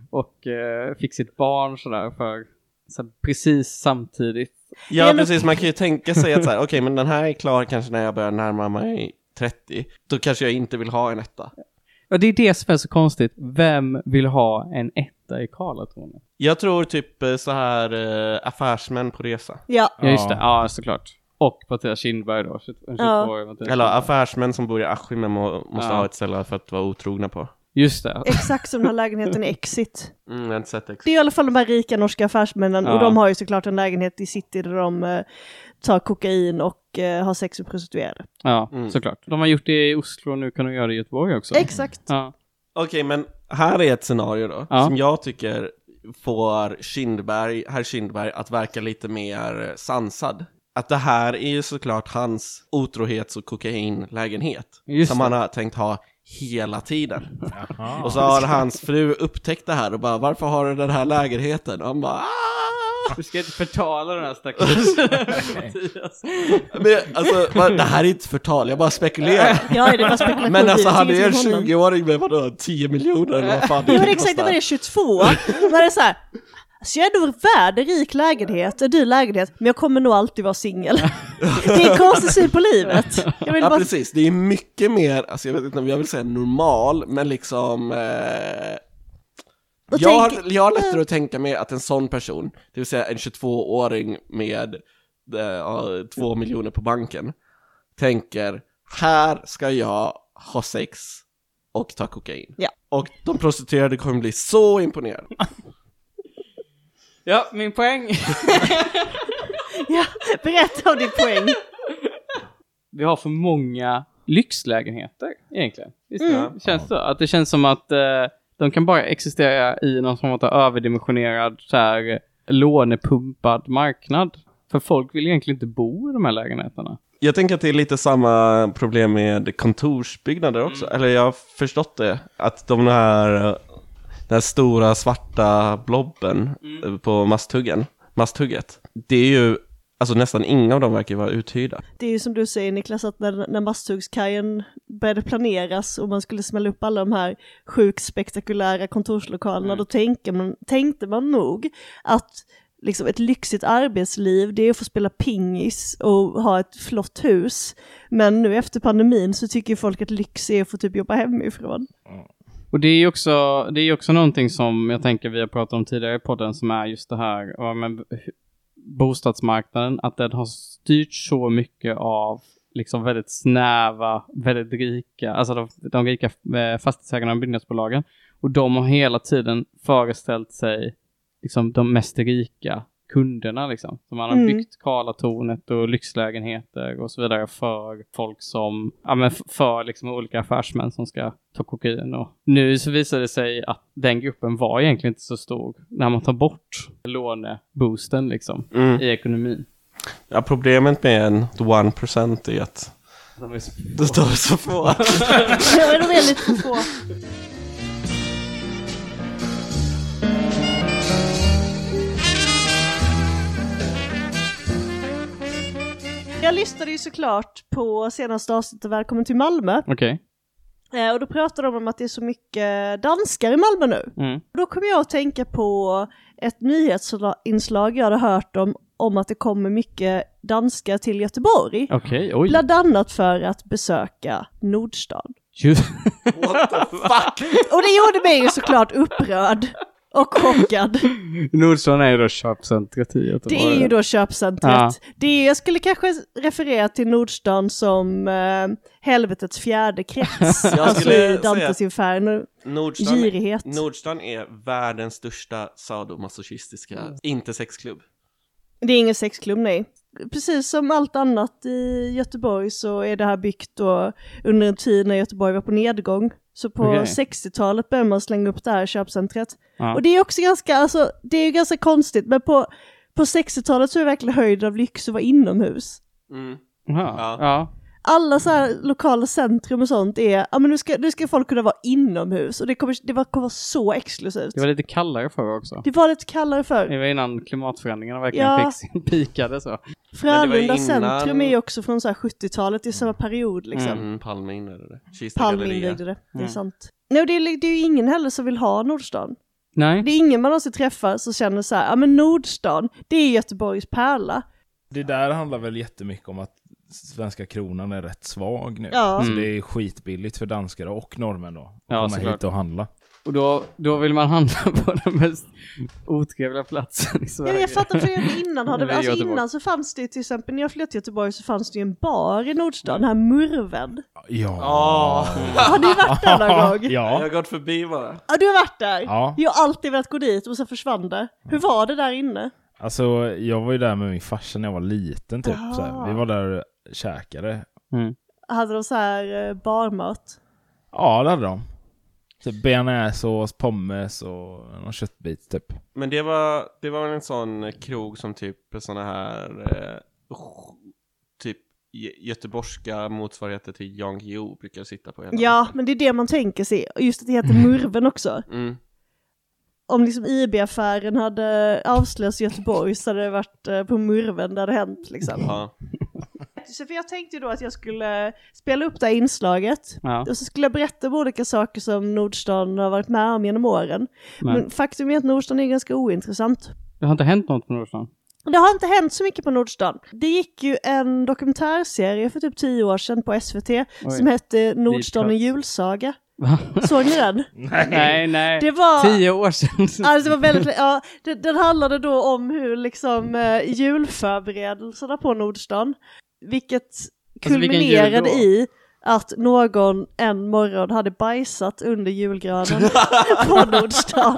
[SPEAKER 1] och eh, fick sitt barn sådär för så här, precis samtidigt.
[SPEAKER 4] Ja,
[SPEAKER 3] Det är nog-
[SPEAKER 4] precis. Man kan ju tänka sig att så här, okej, men den här är klar kanske när jag börjar närma mig 30. Då kanske jag inte vill ha en etta.
[SPEAKER 1] Och det är det som är så konstigt. Vem vill ha en etta i Karlatornet?
[SPEAKER 4] Jag tror typ eh, så här eh, affärsmän på resa.
[SPEAKER 3] Ja,
[SPEAKER 1] Ja. just det, ja såklart. Och Mattias Kindberg då, 22
[SPEAKER 3] Ja.
[SPEAKER 1] år. Mattias
[SPEAKER 4] Eller
[SPEAKER 1] Kindberg.
[SPEAKER 4] affärsmän som bor i Askim men må, måste
[SPEAKER 1] Ja.
[SPEAKER 4] ha ett ställe för att vara otrogna på.
[SPEAKER 1] Just det.
[SPEAKER 3] exakt som den här lägenheten i Exit.
[SPEAKER 4] Mm, jag har inte sett det.
[SPEAKER 3] Det är i alla fall de här rika norska affärsmännen
[SPEAKER 1] Ja.
[SPEAKER 3] och de har ju såklart en lägenhet i city där de eh, tar kokain och eh, har sex med prostituerade.
[SPEAKER 1] Ja,
[SPEAKER 4] Mm.
[SPEAKER 1] såklart. De har gjort det i Oslo och nu kan de göra det i Göteborg också.
[SPEAKER 3] Exakt.
[SPEAKER 1] Ja.
[SPEAKER 4] Okej, men här är ett scenario då,
[SPEAKER 1] Ja.
[SPEAKER 4] som jag tycker får Kindberg, herr Kindberg att verka lite mer sansad. Att det här är ju såklart hans otrohets och kokainlägenhet,
[SPEAKER 1] Just
[SPEAKER 4] som
[SPEAKER 1] det.
[SPEAKER 4] han har tänkt ha hela tiden.
[SPEAKER 2] Jaha.
[SPEAKER 4] Och så har hans fru upptäckt det här och bara, varför har du den här lägenheten? Och han bara, "Ah!"
[SPEAKER 1] Du ska inte förtala den här stackars Mattias.
[SPEAKER 4] Men alltså, va- det här är inte förtal, jag bara spekulerar.
[SPEAKER 3] Ja, det var spekulation.
[SPEAKER 4] Men alltså,
[SPEAKER 3] Det
[SPEAKER 4] han är
[SPEAKER 3] ingenting
[SPEAKER 4] ju
[SPEAKER 3] med
[SPEAKER 4] en
[SPEAKER 3] honom.
[SPEAKER 4] 20-åring med vadå, 10 miljoner eller vad fan
[SPEAKER 3] Jo, det
[SPEAKER 4] kan
[SPEAKER 3] är exakt när
[SPEAKER 4] kosta.
[SPEAKER 3] man är 22. Man är så här, alltså jag är nog värd en rik lägenhet, en dyr lägenhet, men jag kommer nog alltid vara singel. Det är en konstig syn på livet. Jag vill
[SPEAKER 4] Ja
[SPEAKER 3] bara,
[SPEAKER 4] precis, det är mycket mer, alltså jag vet inte om jag vill säga normal, men liksom eh,
[SPEAKER 3] Och
[SPEAKER 4] jag, har,
[SPEAKER 3] tänk-
[SPEAKER 4] jag har lättare att tänka mig att en sån person, det vill säga en 22-åring med eh, ja, två miljoner på banken, tänker här ska jag ha sex och ta kokain.
[SPEAKER 3] Ja.
[SPEAKER 4] Och de prostituerade kommer bli så imponerade.
[SPEAKER 1] Ja, min poäng.
[SPEAKER 3] ja, berätta om din poäng.
[SPEAKER 1] vi har för många lyxlägenheter egentligen. Visst
[SPEAKER 4] Mm.
[SPEAKER 1] känns det så? Att det känns som att eh, de kan bara existera i någon form av överdimensionerad så här, lånepumpad marknad. För folk vill egentligen inte bo i de här lägenheterna.
[SPEAKER 4] Jag tänker att det är lite samma problem med kontorsbyggnader också. Eller jag har förstått det. Att de här, eh, den här Mm. stora svarta blobben eh, på masthuggen, masthugget. Det är ju Alltså nästan inga av dem verkar ju vara uthyrda.
[SPEAKER 3] Det är ju som du säger Niklas, att när, när Masthuggskajen började planeras och man skulle smälla upp alla de här sjukt spektakulära kontorslokalerna, då tänkte man, tänkte man nog att liksom, ett lyxigt arbetsliv, det är att få spela pingis och ha ett flott hus. Men nu efter pandemin så tycker ju folk att lyx är att få typ jobba hemifrån.
[SPEAKER 1] Och det är ju också, det är också någonting som jag tänker vi har pratat om tidigare i podden som är just det här ja, men, hu- bostadsmarknaden, att den har styrts så mycket av liksom väldigt snäva, väldigt rika, alltså de, de rika eh, fastighetsägarna och byggnadsbolagen. Och de har hela tiden föreställt sig liksom de mest rika kunderna liksom. Så man har
[SPEAKER 3] Mm.
[SPEAKER 1] byggt Karlatornet och lyxlägenheter och så vidare för folk som, ja men f- för liksom olika affärsmän som ska ta kokain och nu så visar det sig att den gruppen var egentligen inte så stor när man tar bort låneboosten liksom
[SPEAKER 4] Mm.
[SPEAKER 1] i ekonomin.
[SPEAKER 4] Ja, problemet med en the one percent är att
[SPEAKER 1] De är så-
[SPEAKER 4] det står så få.
[SPEAKER 3] Ja, de är lite för få. Jag lyssnade ju såklart på senaste avsnittet av Välkommen till Malmö
[SPEAKER 1] Okej.
[SPEAKER 3] eh, och då pratade de om att det är så mycket danskar i Malmö nu.
[SPEAKER 1] Mm.
[SPEAKER 3] Och då kom jag att tänka på ett nyhetsinslag jag hade hört om, om att det kommer mycket danskar till Göteborg.
[SPEAKER 1] Okej, oj.
[SPEAKER 3] Bland annat för att besöka Nordstan.
[SPEAKER 1] Just,
[SPEAKER 4] What the fuck?
[SPEAKER 3] Och det gjorde mig ju såklart upprörd och chockad.
[SPEAKER 1] Nordstrand är ju då köpcentret i Göteborg.
[SPEAKER 3] Det är ju då köpcentret.
[SPEAKER 1] Ja.
[SPEAKER 3] Det är, jag skulle kanske referera till Nordstan som eh, helvetets fjärde krets.
[SPEAKER 4] Jag
[SPEAKER 3] alltså
[SPEAKER 4] skulle
[SPEAKER 3] i Dantes
[SPEAKER 4] säga-
[SPEAKER 3] inferno.
[SPEAKER 4] Nordstan,
[SPEAKER 3] Girighet.
[SPEAKER 4] Nordstan är världens största sadomasochistiska inte sexklubb.
[SPEAKER 3] Det är ingen sexklubb, nej. Precis som allt annat i Göteborg så är det här byggt då under en tid när Göteborg var på nedgång. Så på
[SPEAKER 1] Okej.
[SPEAKER 3] 60-talet började man slänga upp det här köpcentret.
[SPEAKER 1] Ja.
[SPEAKER 3] Och det är också ganska, alltså, det är ju ganska konstigt, men på, på 60-talet så är det verkligen höjden av lyx att vara inomhus.
[SPEAKER 4] Mm.
[SPEAKER 1] Jaha,
[SPEAKER 4] Ja.
[SPEAKER 1] ja.
[SPEAKER 3] alla så här lokala centrum och sånt är, ja men nu ska, nu ska folk kunna vara inomhus och det kommer, det var- kommer vara så exklusivt.
[SPEAKER 1] Det var lite kallare förr också.
[SPEAKER 3] lite kallare
[SPEAKER 1] Det
[SPEAKER 3] för
[SPEAKER 1] var innan klimatförändringarna verkligen
[SPEAKER 3] Ja.
[SPEAKER 1] fick sin pikade så.
[SPEAKER 4] Men det var ju
[SPEAKER 3] Frölunda
[SPEAKER 4] innan-
[SPEAKER 3] centrum är ju också från så här 70-talet, det är samma period liksom.
[SPEAKER 4] Mm. Palme invigde det. Kista
[SPEAKER 3] Palme
[SPEAKER 4] galleria.
[SPEAKER 3] invigde det, det är
[SPEAKER 1] Mm.
[SPEAKER 3] sant. Nej, och det, är, det är ju ingen heller som vill ha Nordstan.
[SPEAKER 1] Nej.
[SPEAKER 3] Det är ingen man någonsin träffar som känner så här, ja men Nordstan, det är Göteborgs pärla.
[SPEAKER 2] Det där handlar väl jättemycket om att svenska kronan är rätt svag nu.
[SPEAKER 3] Ja.
[SPEAKER 1] Mm.
[SPEAKER 2] Så det är skitbilligt för danskar och norrmän då. Att
[SPEAKER 1] Ja,
[SPEAKER 2] komma
[SPEAKER 1] såklart.
[SPEAKER 2] hit och handla.
[SPEAKER 1] Och då, då vill man handla på den mest otrevliga platsen i
[SPEAKER 3] Ja,
[SPEAKER 1] Sverige.
[SPEAKER 3] men jag fattar för jag- innan hade
[SPEAKER 1] Det
[SPEAKER 3] vi,
[SPEAKER 1] är
[SPEAKER 3] alltså
[SPEAKER 1] Göteborg.
[SPEAKER 3] innan så fanns det ju till exempel när jag flyttade till Göteborg så fanns det ju en bar i Nordstan, den här Murven.
[SPEAKER 2] Ja.
[SPEAKER 4] Ah. Mm.
[SPEAKER 3] Har ni varit där någon gång?
[SPEAKER 4] Jag
[SPEAKER 2] Ja.
[SPEAKER 4] har gått förbi bara.
[SPEAKER 3] Ja, du har varit där?
[SPEAKER 2] Ja.
[SPEAKER 3] Jag har alltid velat gå dit och sen försvann det. Hur var det där inne?
[SPEAKER 2] Alltså, jag var ju där med min farsa när jag var liten typ.
[SPEAKER 3] Ah.
[SPEAKER 2] Så här. Vi var där och käkade.
[SPEAKER 1] Mm.
[SPEAKER 3] Hade de så här eh, barmat?
[SPEAKER 2] Ja, det hade de. Typ bearnaisesås, pommes och någon köttbit typ.
[SPEAKER 4] Men det var, det var väl en sån krog som typ såna här eh, typ gö- göteborgska motsvarigheter till Jan Guillou brukar sitta på hela
[SPEAKER 3] Ja, men det är det man tänker sig. Och just att det heter Murven också.
[SPEAKER 4] Mm.
[SPEAKER 3] Om liksom IB-affären hade avslöjats i Göteborg så hade det varit eh, på Murven där det hänt liksom.
[SPEAKER 4] Ja.
[SPEAKER 3] Så för jag tänkte ju då att jag skulle spela upp det här inslaget.
[SPEAKER 1] Ja.
[SPEAKER 3] Och så skulle jag berätta om olika saker som Nordstan har varit med om genom åren.
[SPEAKER 1] Men-
[SPEAKER 3] Men faktum är att Nordstan är ganska ointressant.
[SPEAKER 1] Det har inte hänt något på Nordstan.
[SPEAKER 3] Det har inte hänt så mycket på Nordstan. Det gick ju en dokumentärserie för typ tio år sedan på SVT som hette Nordstan en
[SPEAKER 1] Dit
[SPEAKER 3] julsaga.
[SPEAKER 1] Va?
[SPEAKER 3] Såg ni den?
[SPEAKER 1] Nej, nej.
[SPEAKER 3] Det var...
[SPEAKER 1] Tio år sedan.
[SPEAKER 3] Alltså det var väldigt, ja, det- den handlade då om hur liksom eh, julförberedelserna på Nordstan, vilket
[SPEAKER 1] Alltså, vilken jul
[SPEAKER 3] kulminerade
[SPEAKER 1] då?
[SPEAKER 3] i att någon en morgon hade bajsat under julgranen på Nordstan.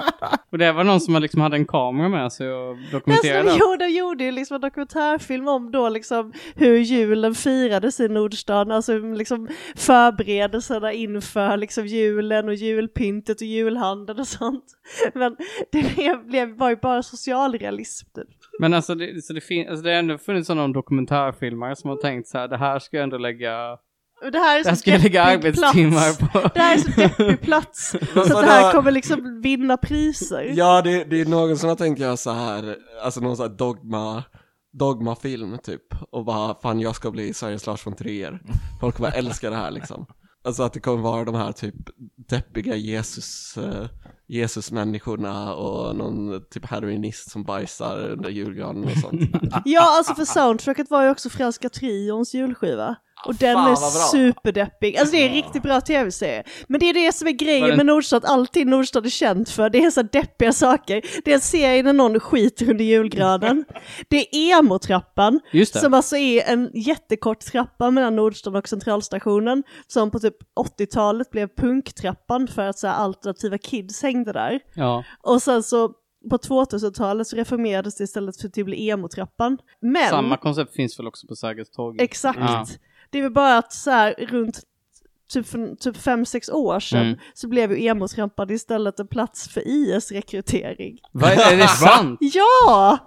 [SPEAKER 1] Och det var någon som liksom hade en kamera med sig och
[SPEAKER 3] Alltså,
[SPEAKER 1] dokumenterade.
[SPEAKER 3] de
[SPEAKER 1] allt.
[SPEAKER 3] gjorde, gjorde ju liksom en dokumentärfilm om då liksom hur julen firades i Nordstan, alltså liksom förberedelserna inför liksom julen och julpyntet och julhandeln och sånt. Men det blev, blev var ju bara socialrealism typ.
[SPEAKER 1] Men alltså det, så det, fin- alltså det har ändå funnits någon dokumentärfilmare som har tänkt så här, det här ska jag ändå lägga,
[SPEAKER 3] Och Det här är
[SPEAKER 1] det här
[SPEAKER 3] så
[SPEAKER 1] ska jag lägga
[SPEAKER 3] deppig plats.
[SPEAKER 1] arbetstimmar på.
[SPEAKER 3] Det här är så deppig plats, så att det här kommer liksom vinna priser.
[SPEAKER 4] Ja, det, det är någon som har tänkt göra så här, alltså någon sån här dogma Dogma-film typ och bara fan jag ska bli Sveriges Lars von Trier. Folk kommer älska det här liksom. Alltså att det kommer vara de här typ deppiga Jesus, eh, Jesus-människorna och någon typ heroinist som bajsar under julgranen och sånt.
[SPEAKER 3] Ja, alltså för soundtracket var ju också Franska Trions julskiva. Och den
[SPEAKER 4] Fan,
[SPEAKER 3] är
[SPEAKER 4] vad bra.
[SPEAKER 3] superdeppig. Alltså det är en riktigt bra tv-serie. Men det är det som är
[SPEAKER 1] Var
[SPEAKER 3] grejen
[SPEAKER 1] den-
[SPEAKER 3] med Nordstad, alltid Nordstad är känt för. Det är så här deppiga saker. Det är en serie när någon skiter under julgranen. Det är emo-trappan,
[SPEAKER 1] Just det.
[SPEAKER 3] som alltså är en jättekort trappa mellan Nordstad och Centralstationen, som på typ 80-talet blev punktrappan för att så här, alternativa kids hängde där.
[SPEAKER 1] Ja.
[SPEAKER 3] Och sen så på 2000-talet så reformerades det istället för till emo-trappan. Men,
[SPEAKER 1] Samma koncept finns väl också på Sergels torg?
[SPEAKER 3] exakt.
[SPEAKER 1] Ja.
[SPEAKER 3] Det är väl bara att så här runt typ, för, typ fem, sex år sedan
[SPEAKER 1] Mm.
[SPEAKER 3] så blev ju emo-trappan istället en plats för IS-rekrytering.
[SPEAKER 1] Va, är det sant?
[SPEAKER 3] Ja!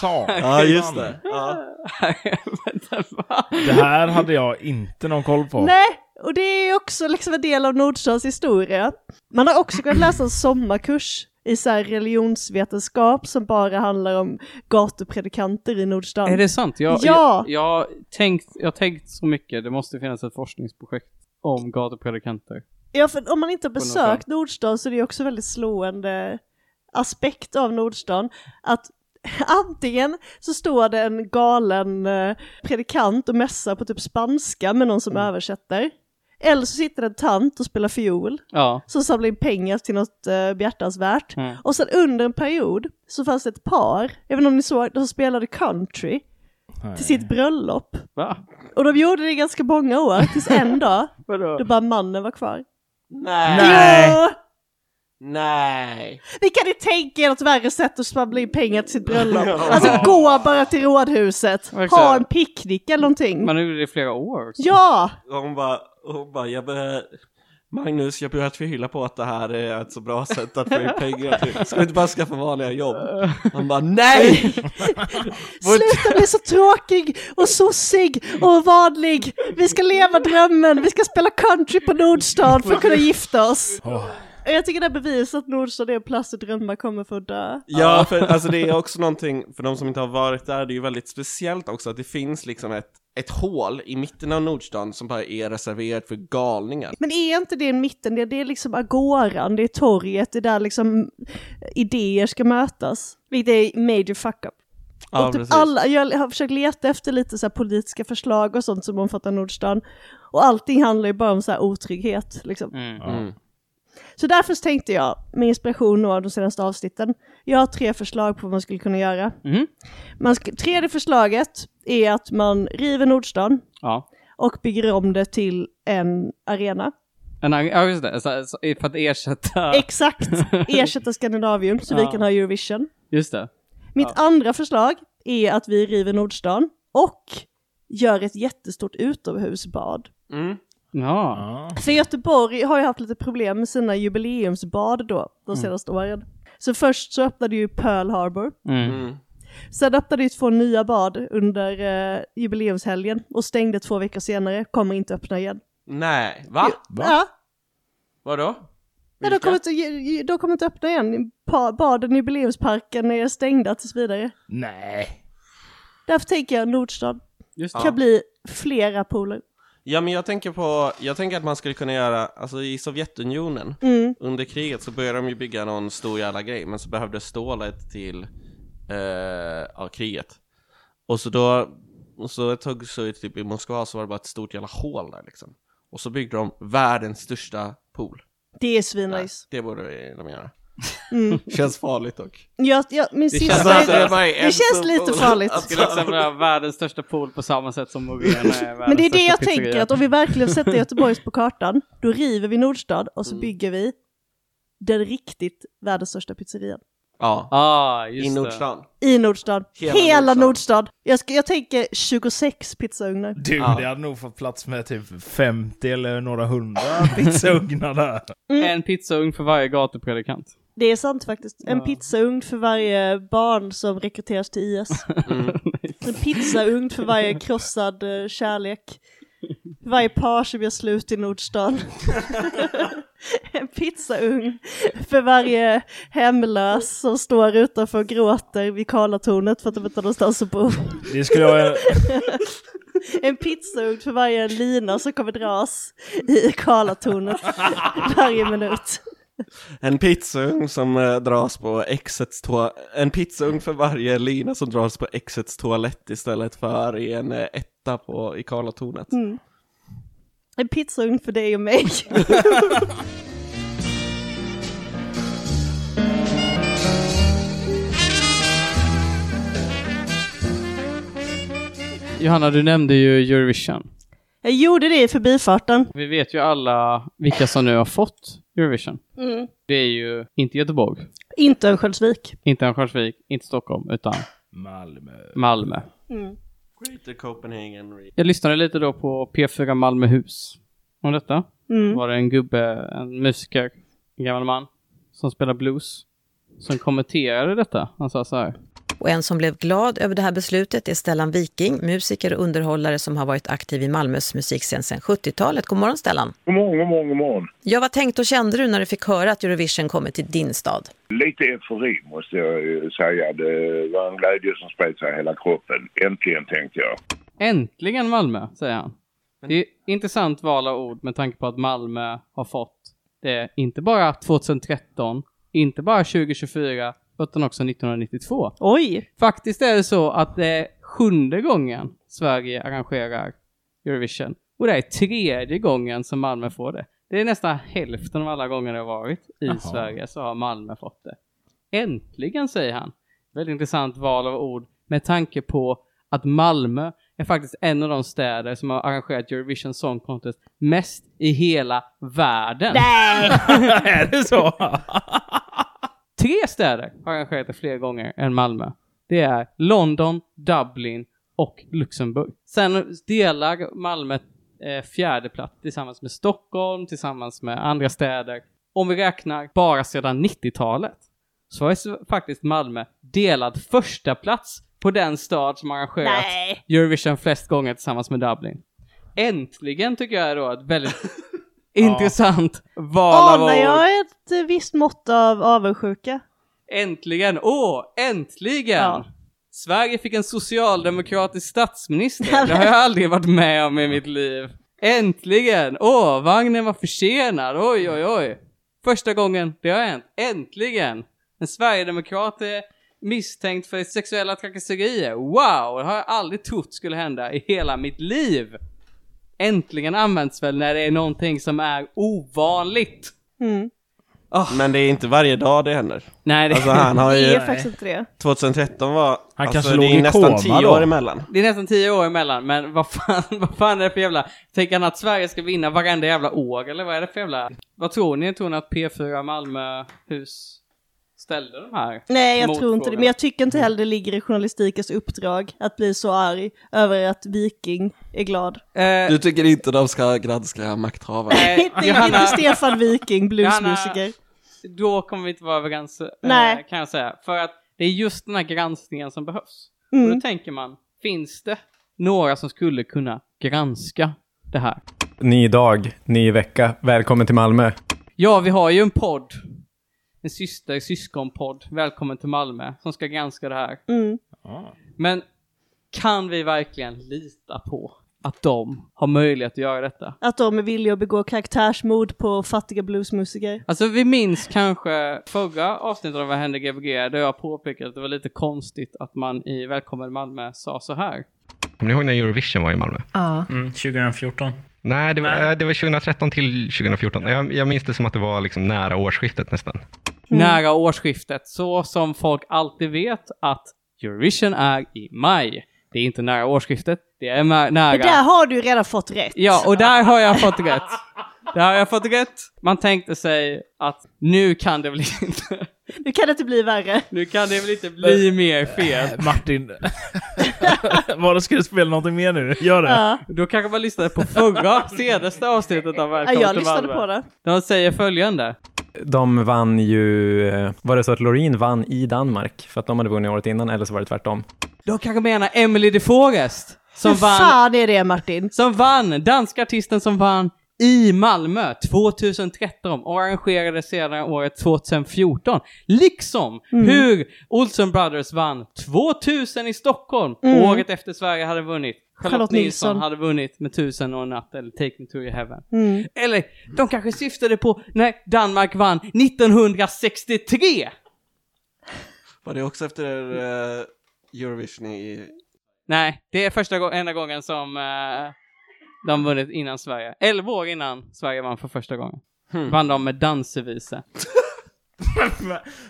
[SPEAKER 2] Satan.
[SPEAKER 4] Ja just det. Ja.
[SPEAKER 1] Vänta, va?
[SPEAKER 2] Det här hade jag inte någon koll på.
[SPEAKER 3] Nej! Och det är ju också liksom en del av Nordstads historia. Man har också kunnat läsa en sommarkurs i så här religionsvetenskap som bara handlar om gatupredikanter i Nordstan.
[SPEAKER 1] Är det sant? Jag,
[SPEAKER 3] Ja!
[SPEAKER 1] jag, jag, har tänkt, jag har tänkt så mycket, det måste finnas ett forskningsprojekt om gatupredikanter.
[SPEAKER 3] Ja, för om man inte har
[SPEAKER 1] något
[SPEAKER 3] besökt Nordstan så är det ju också väldigt slående aspekt av Nordstan att antingen så står det en galen eh, predikant och mässar på typ spanska med någon som översätter. Eller så sitter det en tant och spelar fiol
[SPEAKER 1] Ja.
[SPEAKER 3] som samlar in pengar till något eh, behjärtansvärt.
[SPEAKER 1] Mm.
[SPEAKER 3] Och sen under en period så fanns det ett par, även om ni såg, de spelade country
[SPEAKER 2] Nej.
[SPEAKER 3] till sitt bröllop.
[SPEAKER 1] Va?
[SPEAKER 3] Och de gjorde det i ganska många år, tills en dag
[SPEAKER 1] Vadå?
[SPEAKER 3] då bara mannen var kvar.
[SPEAKER 4] Nej.
[SPEAKER 3] Jo!
[SPEAKER 4] Nej.
[SPEAKER 3] Vi kan inte tänka er något värre sätt att smabbla in pengar till sitt bröllop. Alltså gå bara till rådhuset,
[SPEAKER 1] Verkligen.
[SPEAKER 3] ha en picknick eller någonting.
[SPEAKER 1] Man gjorde det i flera år också.
[SPEAKER 3] Ja!
[SPEAKER 4] Hon bara, hon bara, jag börjar... Magnus, jag börjar tvivla på att det här är ett så bra sätt att få in pengar till. Ska vi inte bara skaffa vanliga jobb? Han bara, nej!
[SPEAKER 3] Sluta bli så tråkig och sossig och vanlig. Vi ska leva drömmen, vi ska spela country på Nordstan för att kunna gifta oss.
[SPEAKER 2] Åh,
[SPEAKER 3] Och Jag tycker det här bevisar att Nordstan är en plats där drömmar kommer få dö.
[SPEAKER 4] Ja, för alltså det är också någonting, för de som inte har varit där, det är ju väldigt speciellt också att det finns liksom ett, ett hål i mitten av Nordstan som bara är reserverat för galningar.
[SPEAKER 3] Men är inte det en mitten, det är liksom agoran, det är torget, det är där liksom idéer ska mötas. Vilket är major fuck up.
[SPEAKER 4] Ja,
[SPEAKER 3] och typ
[SPEAKER 4] precis.
[SPEAKER 3] alla, jag har försökt leta efter lite så här politiska förslag och sånt som omfattar Nordstan. Och allting handlar ju bara om så här otrygghet. Liksom.
[SPEAKER 1] Mm.
[SPEAKER 4] Mm.
[SPEAKER 3] Så därför så tänkte jag, med inspiration av de senaste avsnitten, jag har tre förslag på vad man skulle kunna göra.
[SPEAKER 1] Mhm.
[SPEAKER 3] Man sk- tredje förslaget är att man river Nordstan
[SPEAKER 1] Ja.
[SPEAKER 3] och bygger om det till en arena.
[SPEAKER 1] En, ang- ja, just det. Så, så, för att ersätta...
[SPEAKER 3] Exakt, ersätta Skandinavium så vi
[SPEAKER 1] Ja.
[SPEAKER 3] kan ha Eurovision.
[SPEAKER 1] Just det.
[SPEAKER 3] Mitt andra förslag är att vi river Nordstan och gör ett jättestort utomhusbad.
[SPEAKER 4] Mm.
[SPEAKER 1] Ja.
[SPEAKER 2] ja.
[SPEAKER 3] För Göteborg har ju haft lite problem med sina jubileumsbad då, de senaste åren. Så först så öppnade ju Pearl Harbor,
[SPEAKER 1] Mm.
[SPEAKER 4] Mm.
[SPEAKER 3] sen öppnade ju två nya bad under eh, jubileumshelgen och stängde två veckor senare, kommer inte öppna igen.
[SPEAKER 4] Nej, va?
[SPEAKER 2] Va?
[SPEAKER 3] Ja,
[SPEAKER 4] Vadå?
[SPEAKER 3] nej, de, kommer inte, ju- de kommer inte öppna igen. Pa- Baden i jubileumsparken är stängda tills vidare.
[SPEAKER 2] Nej.
[SPEAKER 3] Därför tänker jag Nordstad
[SPEAKER 1] Just
[SPEAKER 3] kan
[SPEAKER 1] det.
[SPEAKER 3] bli flera pooler.
[SPEAKER 4] Ja men jag tänker på, jag tänker att man skulle kunna göra, alltså i Sovjetunionen
[SPEAKER 3] Mm.
[SPEAKER 4] under kriget så började de ju bygga någon stor jävla grej men så behövdes stålet till eh, ja, kriget. Och så då, och så ett tag så i typ i Moskva så var det bara ett stort jävla hål där liksom. Och så byggde de världens största pool.
[SPEAKER 3] Det är
[SPEAKER 4] där.
[SPEAKER 3] svinnice.
[SPEAKER 4] Det borde de göra.
[SPEAKER 3] Mm.
[SPEAKER 4] Känns farligt dock.
[SPEAKER 3] Jag, jag, min
[SPEAKER 1] Det
[SPEAKER 3] sista...
[SPEAKER 4] Alltså,
[SPEAKER 1] känns-
[SPEAKER 3] det känns lite farligt.
[SPEAKER 4] Att
[SPEAKER 1] Skulle också vara världens största pool på samma sätt som Morena är världens
[SPEAKER 3] Men det är det
[SPEAKER 1] största
[SPEAKER 3] jag
[SPEAKER 1] pizzeria.
[SPEAKER 3] tänker, att om vi verkligen sätter Göteborgs på kartan, då river vi Nordstad och så bygger vi den riktigt världens största pizzerian.
[SPEAKER 4] Ja,
[SPEAKER 1] Ah, just
[SPEAKER 4] i
[SPEAKER 1] det.
[SPEAKER 4] Nordstan.
[SPEAKER 3] I Nordstad.
[SPEAKER 4] Hela
[SPEAKER 3] Hela,
[SPEAKER 4] Nordstad.
[SPEAKER 3] Nordstad. Jag, ska, jag tänker 26 pizzaugnar.
[SPEAKER 2] Du,
[SPEAKER 4] Ja.
[SPEAKER 2] det hade nog fått plats med typ 50 eller några hundra pizzaugnar där.
[SPEAKER 3] Mm.
[SPEAKER 1] En pizzaugn för varje gatupredikant.
[SPEAKER 3] Det är sant faktiskt. En pizzaugn för varje barn som rekryteras till IS. En pizzaugn för varje krossad eh, kärlek. Varje par som gör slut i Nordstan. en pizzaugn för varje hemlös som står utanför och gråter vid Karlatornet för att de inte har någonstans att bo.
[SPEAKER 2] Det skulle jag...
[SPEAKER 3] En pizzaugn för varje lina som kommer dras i Karlatornet varje minut.
[SPEAKER 4] En pizzaugn som eh, dras på exets toa- En pizzaugn för varje lina som dras på exets toalett istället för i en eh, etta på, i Karlatornet.
[SPEAKER 3] Mm. En pizzaugn för dig och mig.
[SPEAKER 1] Johanna, du nämnde ju Eurovision.
[SPEAKER 3] Jag gjorde det i förbifarten.
[SPEAKER 1] Vi vet ju alla vilka som nu har fått Eurovision.
[SPEAKER 3] Mm.
[SPEAKER 1] Det är ju inte Göteborg,
[SPEAKER 3] Inte Örnsköldsvik.
[SPEAKER 1] inte Örnsköldsvik, inte Stockholm, utan
[SPEAKER 2] Malmö.
[SPEAKER 1] Malmö.
[SPEAKER 4] Greater Copenhagen Re-
[SPEAKER 1] Jag lyssnade lite då på P4 Malmöhus om detta.
[SPEAKER 3] Mm.
[SPEAKER 1] var det en gubbe, en musiker, en gammal man, som spelar blues, som kommenterade detta. Han sa så här.
[SPEAKER 5] Och en som blev glad över det här beslutet är Stellan Viking, musiker och underhållare som har varit aktiv i Malmös musikscen sedan 70-talet. God morgon Stellan!
[SPEAKER 6] God morgon, god morgon, god morgon.
[SPEAKER 5] Ja, vad tänkte och kände du när du fick höra att Eurovision kommer till din stad?
[SPEAKER 6] Lite eufori måste jag ju säga. Det var en glädje som spred sig i hela kroppen. Äntligen tänkte jag.
[SPEAKER 1] Äntligen Malmö, säger han. Det är intressant val av ord med tanke på att Malmö har fått det inte bara 2013, inte bara 2024, utan också 1992.
[SPEAKER 3] Oj!
[SPEAKER 1] Faktiskt är det så att det är sjunde gången Sverige arrangerar Eurovision. Och det är tredje gången som Malmö får det. Det är nästan hälften av alla gånger det har varit i Sverige så har Malmö fått det. Äntligen, säger han. Väldigt intressant val av ord med tanke på att Malmö är faktiskt en av de städer som har arrangerat Eurovision Song Contest mest i hela världen.
[SPEAKER 2] är det så?
[SPEAKER 1] Tre städer har arrangerat det fler gånger än Malmö. Det är London, Dublin och Luxemburg. Sen delar Malmö eh, fjärdeplats tillsammans med Stockholm, tillsammans med andra städer. Om vi räknar bara sedan 90-talet så är s- faktiskt Malmö delad första plats på den stad som arrangerat
[SPEAKER 3] Nej.
[SPEAKER 1] Eurovision flest gånger tillsammans med Dublin. Äntligen tycker jag då att väldigt intressant val av
[SPEAKER 3] Anar
[SPEAKER 1] ord.
[SPEAKER 3] jag ett eh, visst mått av avundsjuka?
[SPEAKER 1] Äntligen! Åh, äntligen!
[SPEAKER 3] Ja.
[SPEAKER 1] Sverige fick en socialdemokratisk statsminister. Det har jag aldrig varit med om i mitt liv. Äntligen! Åh, vagnen var försenad. Oj, oj, oj. Första gången det har hänt. Äntligen! En sverigedemokrat är misstänkt för sexuella trakasserier. Wow! Det har jag aldrig trott skulle hända i hela mitt liv. Äntligen används väl när det är någonting som är ovanligt.
[SPEAKER 3] Mm.
[SPEAKER 4] Men det är inte varje dag Ah. det händer.
[SPEAKER 1] Nej, det...
[SPEAKER 4] Alltså han har
[SPEAKER 3] Det
[SPEAKER 4] ju...
[SPEAKER 3] är faktiskt inte det.
[SPEAKER 4] 2013 var...
[SPEAKER 2] Han
[SPEAKER 4] alltså,
[SPEAKER 2] kanske
[SPEAKER 4] det
[SPEAKER 2] låg
[SPEAKER 4] är
[SPEAKER 2] i
[SPEAKER 4] nästan
[SPEAKER 2] koma
[SPEAKER 4] tio
[SPEAKER 2] då.
[SPEAKER 4] år emellan.
[SPEAKER 1] Det är nästan tio år emellan, men vad fan, vad fan är det för jävla... Tänker han att Sverige ska vinna varenda jävla år, eller vad är det för jävla... Vad tror ni? Tror ni att P4 Malmöhus ställde de här?
[SPEAKER 3] Nej, jag tror inte det.
[SPEAKER 1] motfrågorna?
[SPEAKER 3] Men jag tycker inte heller det ligger i journalistikens uppdrag att bli så arg över att Viking är glad.
[SPEAKER 1] Eh,
[SPEAKER 4] Du tycker inte de ska granska makthavare?
[SPEAKER 1] eh,
[SPEAKER 3] inte,
[SPEAKER 1] Johanna,
[SPEAKER 3] inte Stefan Viking, bluesmusiker.
[SPEAKER 1] då kommer vi inte vara överens, eh,
[SPEAKER 3] Nej.
[SPEAKER 1] kan jag säga. För att det är just den här granskningen som behövs. Och då
[SPEAKER 3] Mm.
[SPEAKER 1] tänker man, finns det några som skulle kunna granska det här?
[SPEAKER 7] Ny dag, ny vecka. Välkommen till Malmö.
[SPEAKER 1] Ja, vi har ju en podd. En syster, syskonpodd. Välkommen till Malmö. Som ska granska det här.
[SPEAKER 3] Mm.
[SPEAKER 1] Men kan vi verkligen lita på att de har möjlighet att göra detta?
[SPEAKER 3] Att de är villiga att begå karaktärsmord på fattiga bluesmusiker.
[SPEAKER 1] Alltså vi minns kanske förra avsnittet av Vad händer Gbg där jag påpekade att det var lite konstigt att man i Välkommen Malmö sa så
[SPEAKER 3] Mm.
[SPEAKER 1] här.
[SPEAKER 8] Kommer ni ihåg när Eurovision var i Malmö?
[SPEAKER 9] Mm, 2014.
[SPEAKER 8] Nej, det var, eh, det var 2013 till 2014. Jag, jag minns det som att det var liksom nära årsskiftet nästan.
[SPEAKER 1] Nära årsskiftet, så som folk alltid vet att Eurovision är i maj. Det är inte nära årsskiftet, det är mä- nära...
[SPEAKER 3] Det där har du ju redan fått rätt.
[SPEAKER 1] Ja, och där har jag fått rätt. Där har jag fått rätt. Man tänkte sig att nu kan det väl inte,
[SPEAKER 3] Nu kan det inte bli värre.
[SPEAKER 1] nu kan det väl inte bli mer fel.
[SPEAKER 2] Martin. Var ska du spela någonting mer nu? Gör det.
[SPEAKER 3] Ja.
[SPEAKER 1] Då kanske man lyssnade på förra, senaste avsnittet av
[SPEAKER 3] Ja,
[SPEAKER 1] Välkommen
[SPEAKER 3] jag
[SPEAKER 1] till
[SPEAKER 3] lyssnade
[SPEAKER 1] Malmö.
[SPEAKER 3] på det.
[SPEAKER 1] De säger följande.
[SPEAKER 7] De vann ju... eh, Var det så att Loreen vann i Danmark för att de hade vunnit året innan, eller så var det tvärtom?
[SPEAKER 1] De kanske menar Emily de Forest. Som
[SPEAKER 3] Hur
[SPEAKER 1] vann,
[SPEAKER 3] fan är det Martin?
[SPEAKER 1] som vann, danska artisten som vann i Malmö 2013 och arrangerade sedan året 2014. Liksom
[SPEAKER 3] Mm.
[SPEAKER 1] hur Olsen Brothers vann 2000 i Stockholm.
[SPEAKER 3] Mm.
[SPEAKER 1] Året efter Sverige hade vunnit. Charlotte,
[SPEAKER 3] Charlotte
[SPEAKER 1] Nilsson.
[SPEAKER 3] Nilsson.
[SPEAKER 1] hade vunnit med 1000 och en natt eller Take Me To Your Heaven.
[SPEAKER 3] Mm.
[SPEAKER 1] Eller de kanske syftade på när Danmark vann 1963.
[SPEAKER 4] Var det också efter eh, Eurovision i...
[SPEAKER 1] Nej, det är första gången, enda gången som eh, de vunnit innan Sverige. Elva år innan Sverige vann för första gången.
[SPEAKER 3] Hmm.
[SPEAKER 1] Vann de med dansevisa.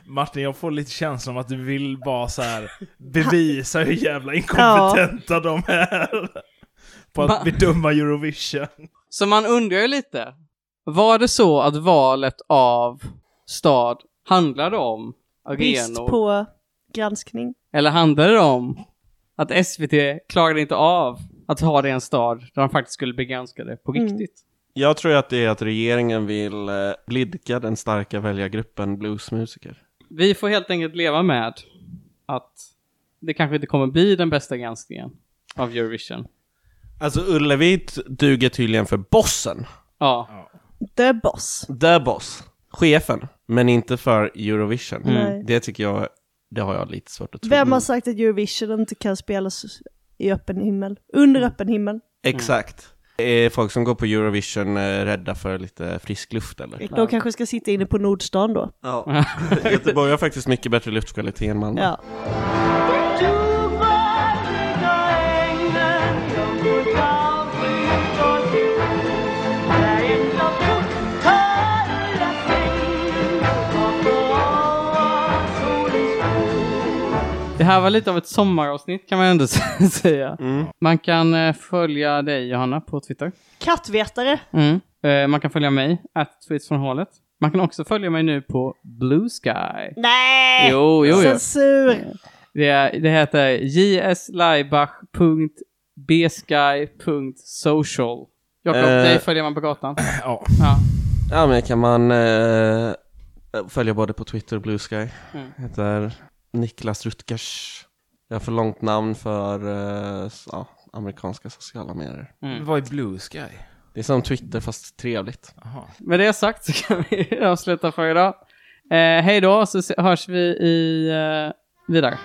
[SPEAKER 2] Martin, jag får lite känslan av att du vill bara så här bevisa hur jävla inkompetenta de är. På
[SPEAKER 1] Va?
[SPEAKER 2] att bedöma Eurovision.
[SPEAKER 1] Så man undrar ju lite. Var det så att valet av stad handlade om
[SPEAKER 3] Brist
[SPEAKER 1] arenor?
[SPEAKER 3] på granskning.
[SPEAKER 1] Eller handlade det om att SVT klarade inte av att ha det i en stad där de faktiskt skulle bli granskade på
[SPEAKER 3] Mm.
[SPEAKER 1] riktigt?
[SPEAKER 4] Jag tror att det är att regeringen vill eh, blidka den starka väljargruppen bluesmusiker.
[SPEAKER 1] Vi får helt enkelt leva med att det kanske inte kommer bli den bästa granskningen av Eurovision.
[SPEAKER 4] Alltså Ullevi t- duger tydligen för bossen.
[SPEAKER 1] Ja.
[SPEAKER 3] The Boss.
[SPEAKER 4] The boss. Chefen. Men inte för Eurovision.
[SPEAKER 1] Mm.
[SPEAKER 3] Nej.
[SPEAKER 4] Det tycker jag, det har jag lite svårt att tro.
[SPEAKER 3] Vem har sagt att Eurovision inte kan spelas i öppen himmel? Under öppen himmel.
[SPEAKER 1] Mm.
[SPEAKER 4] Exakt. Är folk som går på Eurovision eh, rädda för lite frisk luft eller?
[SPEAKER 3] De kanske ska sitta inne på Nordstan då.
[SPEAKER 4] Ja. Göteborg har faktiskt mycket bättre luftkvalitet än Malmö.
[SPEAKER 3] Ja.
[SPEAKER 1] Det här var lite av ett sommaravsnitt kan man ändå säga. Man kan eh, följa dig Johanna på Twitter.
[SPEAKER 3] Kattvetare.
[SPEAKER 1] Eh, man kan följa mig, att tweets från hålet. Man kan också följa mig nu på Blue Sky.
[SPEAKER 3] Nej!
[SPEAKER 1] Jo, jo, jo.
[SPEAKER 3] Censur.
[SPEAKER 1] Det, är, det heter jslaibach.bsky.social. Jakob,
[SPEAKER 4] Eh.
[SPEAKER 1] dig följer man på gatan.
[SPEAKER 2] Ja.
[SPEAKER 1] Ja.
[SPEAKER 4] Ja men kan man eh, följa både på Twitter och Blue Sky.
[SPEAKER 1] Mm.
[SPEAKER 4] Heter Niklas Rutgers. Jag har för långt namn för eh, s- ja, amerikanska sociala medier.
[SPEAKER 1] Mm.
[SPEAKER 2] Vad är Blue Sky?
[SPEAKER 4] Det är som Twitter fast trevligt.
[SPEAKER 2] Aha.
[SPEAKER 1] Med det sagt så kan vi avsluta för idag. Eh, hej då, så se- hörs vi i eh, vidare.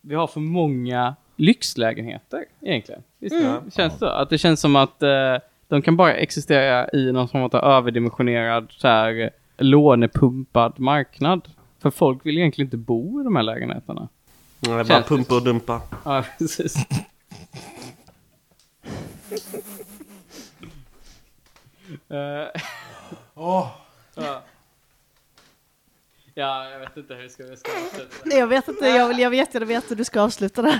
[SPEAKER 1] vi har för många lyxlägenheter egentligen. Visst det känns det? Att det känns som att eh, de kan bara existera i någon form av överdimensionerad så här, lånepumpad marknad. För folk vill egentligen inte bo i de här lägenheterna.
[SPEAKER 4] Nej, bara
[SPEAKER 1] Känns det.
[SPEAKER 4] pumpa och dumpa.
[SPEAKER 1] Ja, precis. Eh, ja. ja, jag vet inte hur ska vi ska avsluta.
[SPEAKER 3] Jag vet inte, jag vill, jag vet, jag vet att du ska avsluta det här.